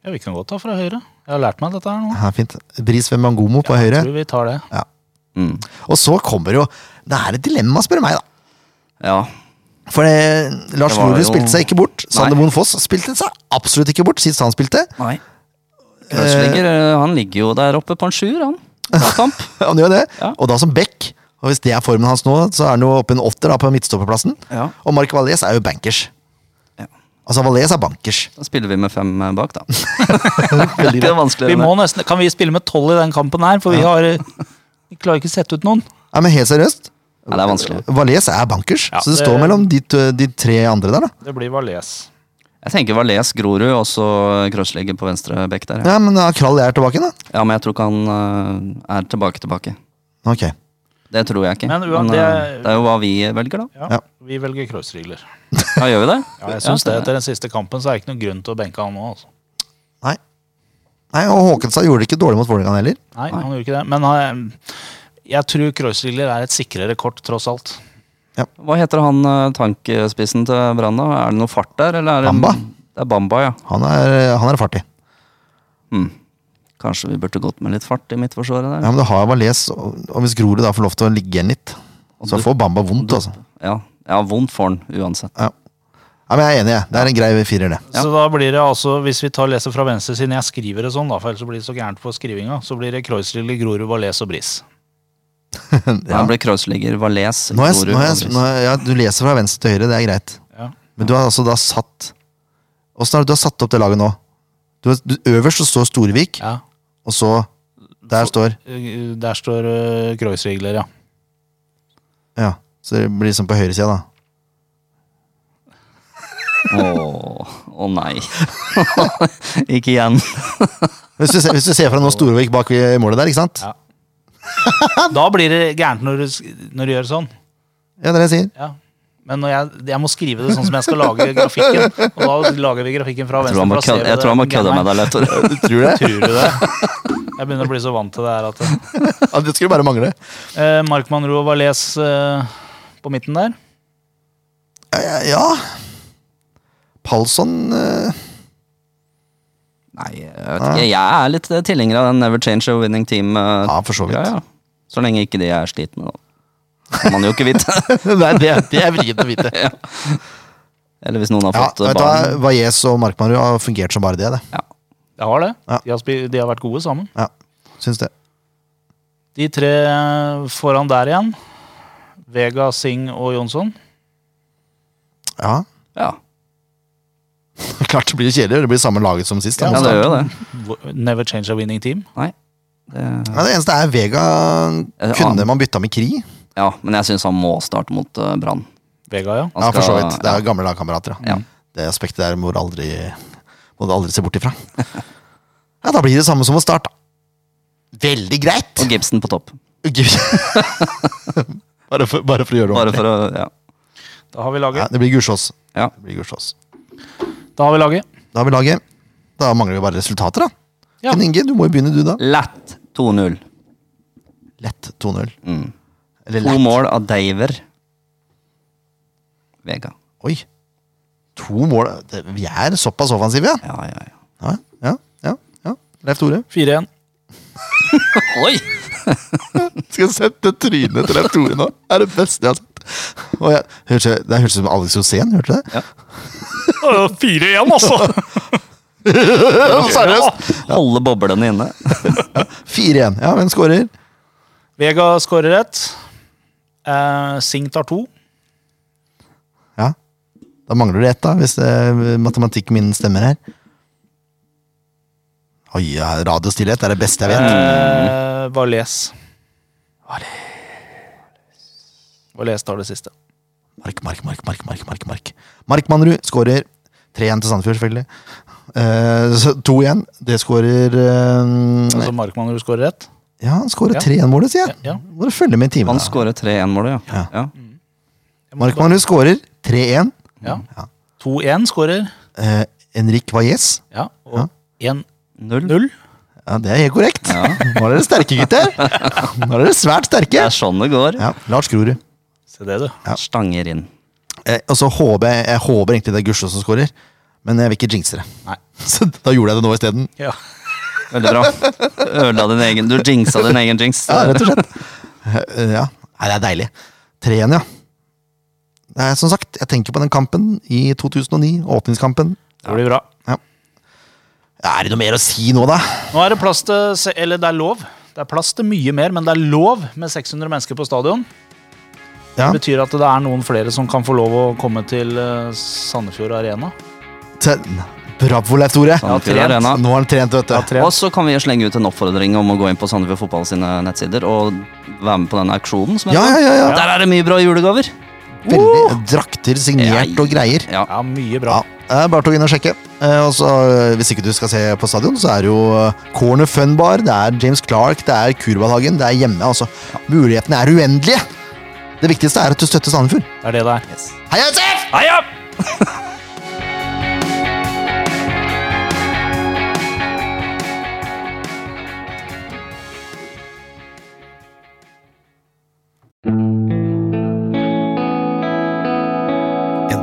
Ja, vi kan godt ta fra høyre. Jeg har lært meg dette her nå.
Ja, fint. Bris ved Mangomo på høyre.
Jeg tror vi tar det.
Ja.
Mm.
Og så kommer jo Det er et dilemma, spør du meg, da.
Ja.
For det, Lars
Det var
Grorud
jo-
spilte seg ikke bort. Sander
Nei.
Moen Foss spilte seg absolutt ikke bort sist han spilte.
Nei. Krøslinger, han ligger jo der oppe på en sjuer, han. Hver kamp.
Han gjør det.
Ja.
Og da som back. Og hvis det er formen hans nå, så er han jo oppe i en åtter da, på midtstopperplassen.
Ja.
Og Mark Valais er jo bankers.
Ja.
Altså Valais er bankers.
Da spiller vi med fem eh, bak, da. det er ikke vanskeligere
Vi
enn
må nesten, kan vi spille med tolv i den kampen her, for vi har eh, vi klarer ikke å sette ut noen.
Nei, men helt seriøst.
Nei, det er vanskelig.
Valais er bankers,
Ja,
så det,
det-
står mellom de, to- de tre andre der, da.
Det blir Valais.
Jeg tenker Valais, Grorud og så Krøslinger på venstre bekk der. Ja.
Ja, men da Krall er tilbake, da.
ja, men jeg tror ikke han eh, er tilbake tilbake.
Ok.
Det tror jeg ikke.
Men uan-
eh,
det-
det er jo hva vi velger, da.
Ja,
Ja.
Vi velger crossregler.
Ja, gjør vi det?
Ja, jeg synes det.
det-
Etter den siste kampen så er det ikke noen grunn til å benke han nå. altså.
Nei. Nei, Og Håkenstad gjorde det ikke dårlig mot Vålerenga heller.
Nei, han gjorde ikke det. Men han, jeg tror crossregler er et sikrere kort, tross alt.
Hva heter han eh, tankspissen til Brann, da? Er det noe fart der, eller er det
Bamba.
Det er Bamba, ja.
Han er, han er fartig.
Hmm. Kanskje vi burde gått med litt fart i midtforsvaret der?
Ja, men du har Valais, og og hvis Grorud da får lov til å ligge igjen litt, så
du-
får Bamba vondt, altså.
Ja, ja vondt for han uansett.
Ja. ja, men jeg er enig, jeg. Det er en grei firer, det.
Så da blir det altså, hvis vi tar leser fra venstre, siden jeg skriver det sånn, da, for ellers så blir det så gærent på skrivinga, så blir det crossregler, Grorud, Valais og Bris.
Ja.
Han ble Kreuzliger, Valais,
Nå er jeg,
Grorud
nå er
og
jeg,
Dris.
nå er, ja, du leser fra venstre til høyre, det er greit.
Ja.
Men du har altså da satt Åssen har du- du har satt opp det laget nå? Du, har- du, øverst så står Storvik,
Ja.
og så Der står
Eh, Der står uh, crossregler, ja.
Ja, så det blir sånn på høyresida, da.
Åh, å nei. ikke igjen.
Hvis du, ser- hvis du ser fra nå Storvik bak i målet der, ikke sant?
Ja. Da blir det gærent når du, sk- når du gjør sånn.
Ja, det er det jeg sier.
Ja. Men når jeg, jeg må skrive det sånn som jeg skal lage grafikken. Og da lager vi grafikken fra
Jeg
venstre.
tror han må
for da ser
kødde,
vi
jeg
det.
tror han må kødde med
Nei,
deg litt. Tore.
Tror du det?
Tror du det? Jeg begynner å bli så vant til det her at
Ja, det skulle bare mangle.
eh, Mark Manro og Valais eh, på midten der.
Ja, Ja. ja. Palsson eh,
Nei, jeg vet ikke. Jeg er litt eh, tilhenger av den never change a winning team. eh,
Ja, for så vidt.
greia, ja. Så lenge ikke de er slitne, da. Kan man jo ikke vite.
Nei, det, det er vrient å vite.
ja. Eller hvis noen har
Ja,
fått eh,
vet du hva,
barn.
Valles og Markmanrud har fungert som bare det, det.
Ja.
Jeg har det.
Ja.
De, har spi de har vært gode sammen.
Ja, syns det.
De tre eh, foran der igjen. Vega, Singh og Jonsson.
Ja,
Ja.
Klart det blir kjedelig, det blir samme laget som sist. da.
ja, det gjør jo det.
Never change a winning team.
Nei. Det,
Ja, det eneste er Vega
Eh,
Kunne
annen.
man bytta med Kri?
ja, men jeg syns han må starte mot eh, Brann.
Vega, ja.
Han
Ja, for så
skal-
vidt. Det er jo gamle lagkamerater. da.
Ja.
Det aspektet der må du aldri, må du aldri se bort ifra. Ja, da blir det samme som å starte. Veldig greit!
Og Gibson på topp.
Gud. bare, for, bare for å gjøre det
Bare
ordentlig.
for å Ja.
Da har vi
Ja,
laget.
det blir Gursås.
ja.
Det blir Gursås.
Da har vi laget.
Da har vi laget. Da mangler vi bare resultater, da.
Ja.
Ken Inge, du må jo begynne, du, da.
Lett 2-0.
Lett 2-0.
Mm.
Eller
To
lett.
mål av Daver. Vega.
Oi. To mål Det- Vi er såpass offensive, ja.
Ja, ja, ja.
Ja, ja, ja, ja. Leif Tore.
4-1.
Oi!
Skal jeg sette trynet til Leif Tore nå? Det er det beste jeg har sett. Og jeg, hørte, det hørtes ut som Alex Rosén, hørte du det?
Ja.
4-1, altså!
Seriøst!
Holde boblene inne.
4-1. Ja, hvem skårer?
Vega skårer ett. Eh, Singh tar to.
Ja. Da mangler det ett, da, hvis eh, matematikken min stemmer her. Oi, ja, radiostillhet er det beste jeg vet.
Eh, Valais. Valais tar det siste.
Mark, Mark, Mark, Mark, Mark. Mark, Mark. Mark Mannerud skårer. 3-1 til Sandefjord, selvfølgelig. Eh, så 2 igjen. Det skårer eh,
Altså Markmann, du skårer rett.
Ja, han skårer
Ja.
3-1-målet, sier jeg.
Ja, ja.
Må du følge med i timen.
Han
da.
skårer 3-1-målet, ja.
Ja.
ja.
Mark Mannerud skårer 3-1.
Mm, Ja.
Ja.
2-1 skårer.
Eh, Enrik Valles.
Ja. Og 1-0.
Null.
Ja, det er helt korrekt. Nå er dere sterke, gutter. Nå er dere svært
Det
sterke.
er sånn det går.
Ja, Lars Grorud.
Se det, du.
Stanger inn.
Eh, og så håper jeg, jeg håper egentlig det er Gustav som skårer. Men jeg vil ikke jinxe det.
Nei.
Så da gjorde jeg det nå isteden.
Ja.
Veldig bra. Ødela din egen Du jinxa din egen jinx.
Ja, rett og slett. Eh, Ja. Nei, det er deilig. Treen, ja. Det er, som sagt, jeg tenker på den kampen i 2009, åpningskampen.
Det blir bra.
Er det noe mer å si nå, da?
Nå er det plass til se- Eller det er lov. Det er plass til mye mer, men det er lov med 600 mennesker på stadion.
Ja.
Det betyr at det er noen flere som kan få lov å komme til eh, Sandefjord Arena.
Ten. Bravo, Leif Tore.
Ja,
trent.
Fyr Arena.
Nå har han trent, vet du.
Tre.
Og så kan vi slenge ut en oppfordring om å gå inn på Sandefjord Fotball sine nettsider og være med på den auksjonen. Som
Ja,
heter.
ja, ja. ja.
Der er det mye bra julegaver!
Veldig drakter signert og greier.
Ja.
Ja, mye
Ja,
bra.
det er bare til å gå inn og sjekke. Eh, Og så, eh, Hvis ikke du skal se på stadion, så er det jo eh, Corner Fun Bar, det er James Clark, det er Kurbadhagen, det er hjemme. altså. Mulighetene er uendelige! Det viktigste er at du støtter Sandefjord.
Det er det det er.
Heia SF!
Heia!
En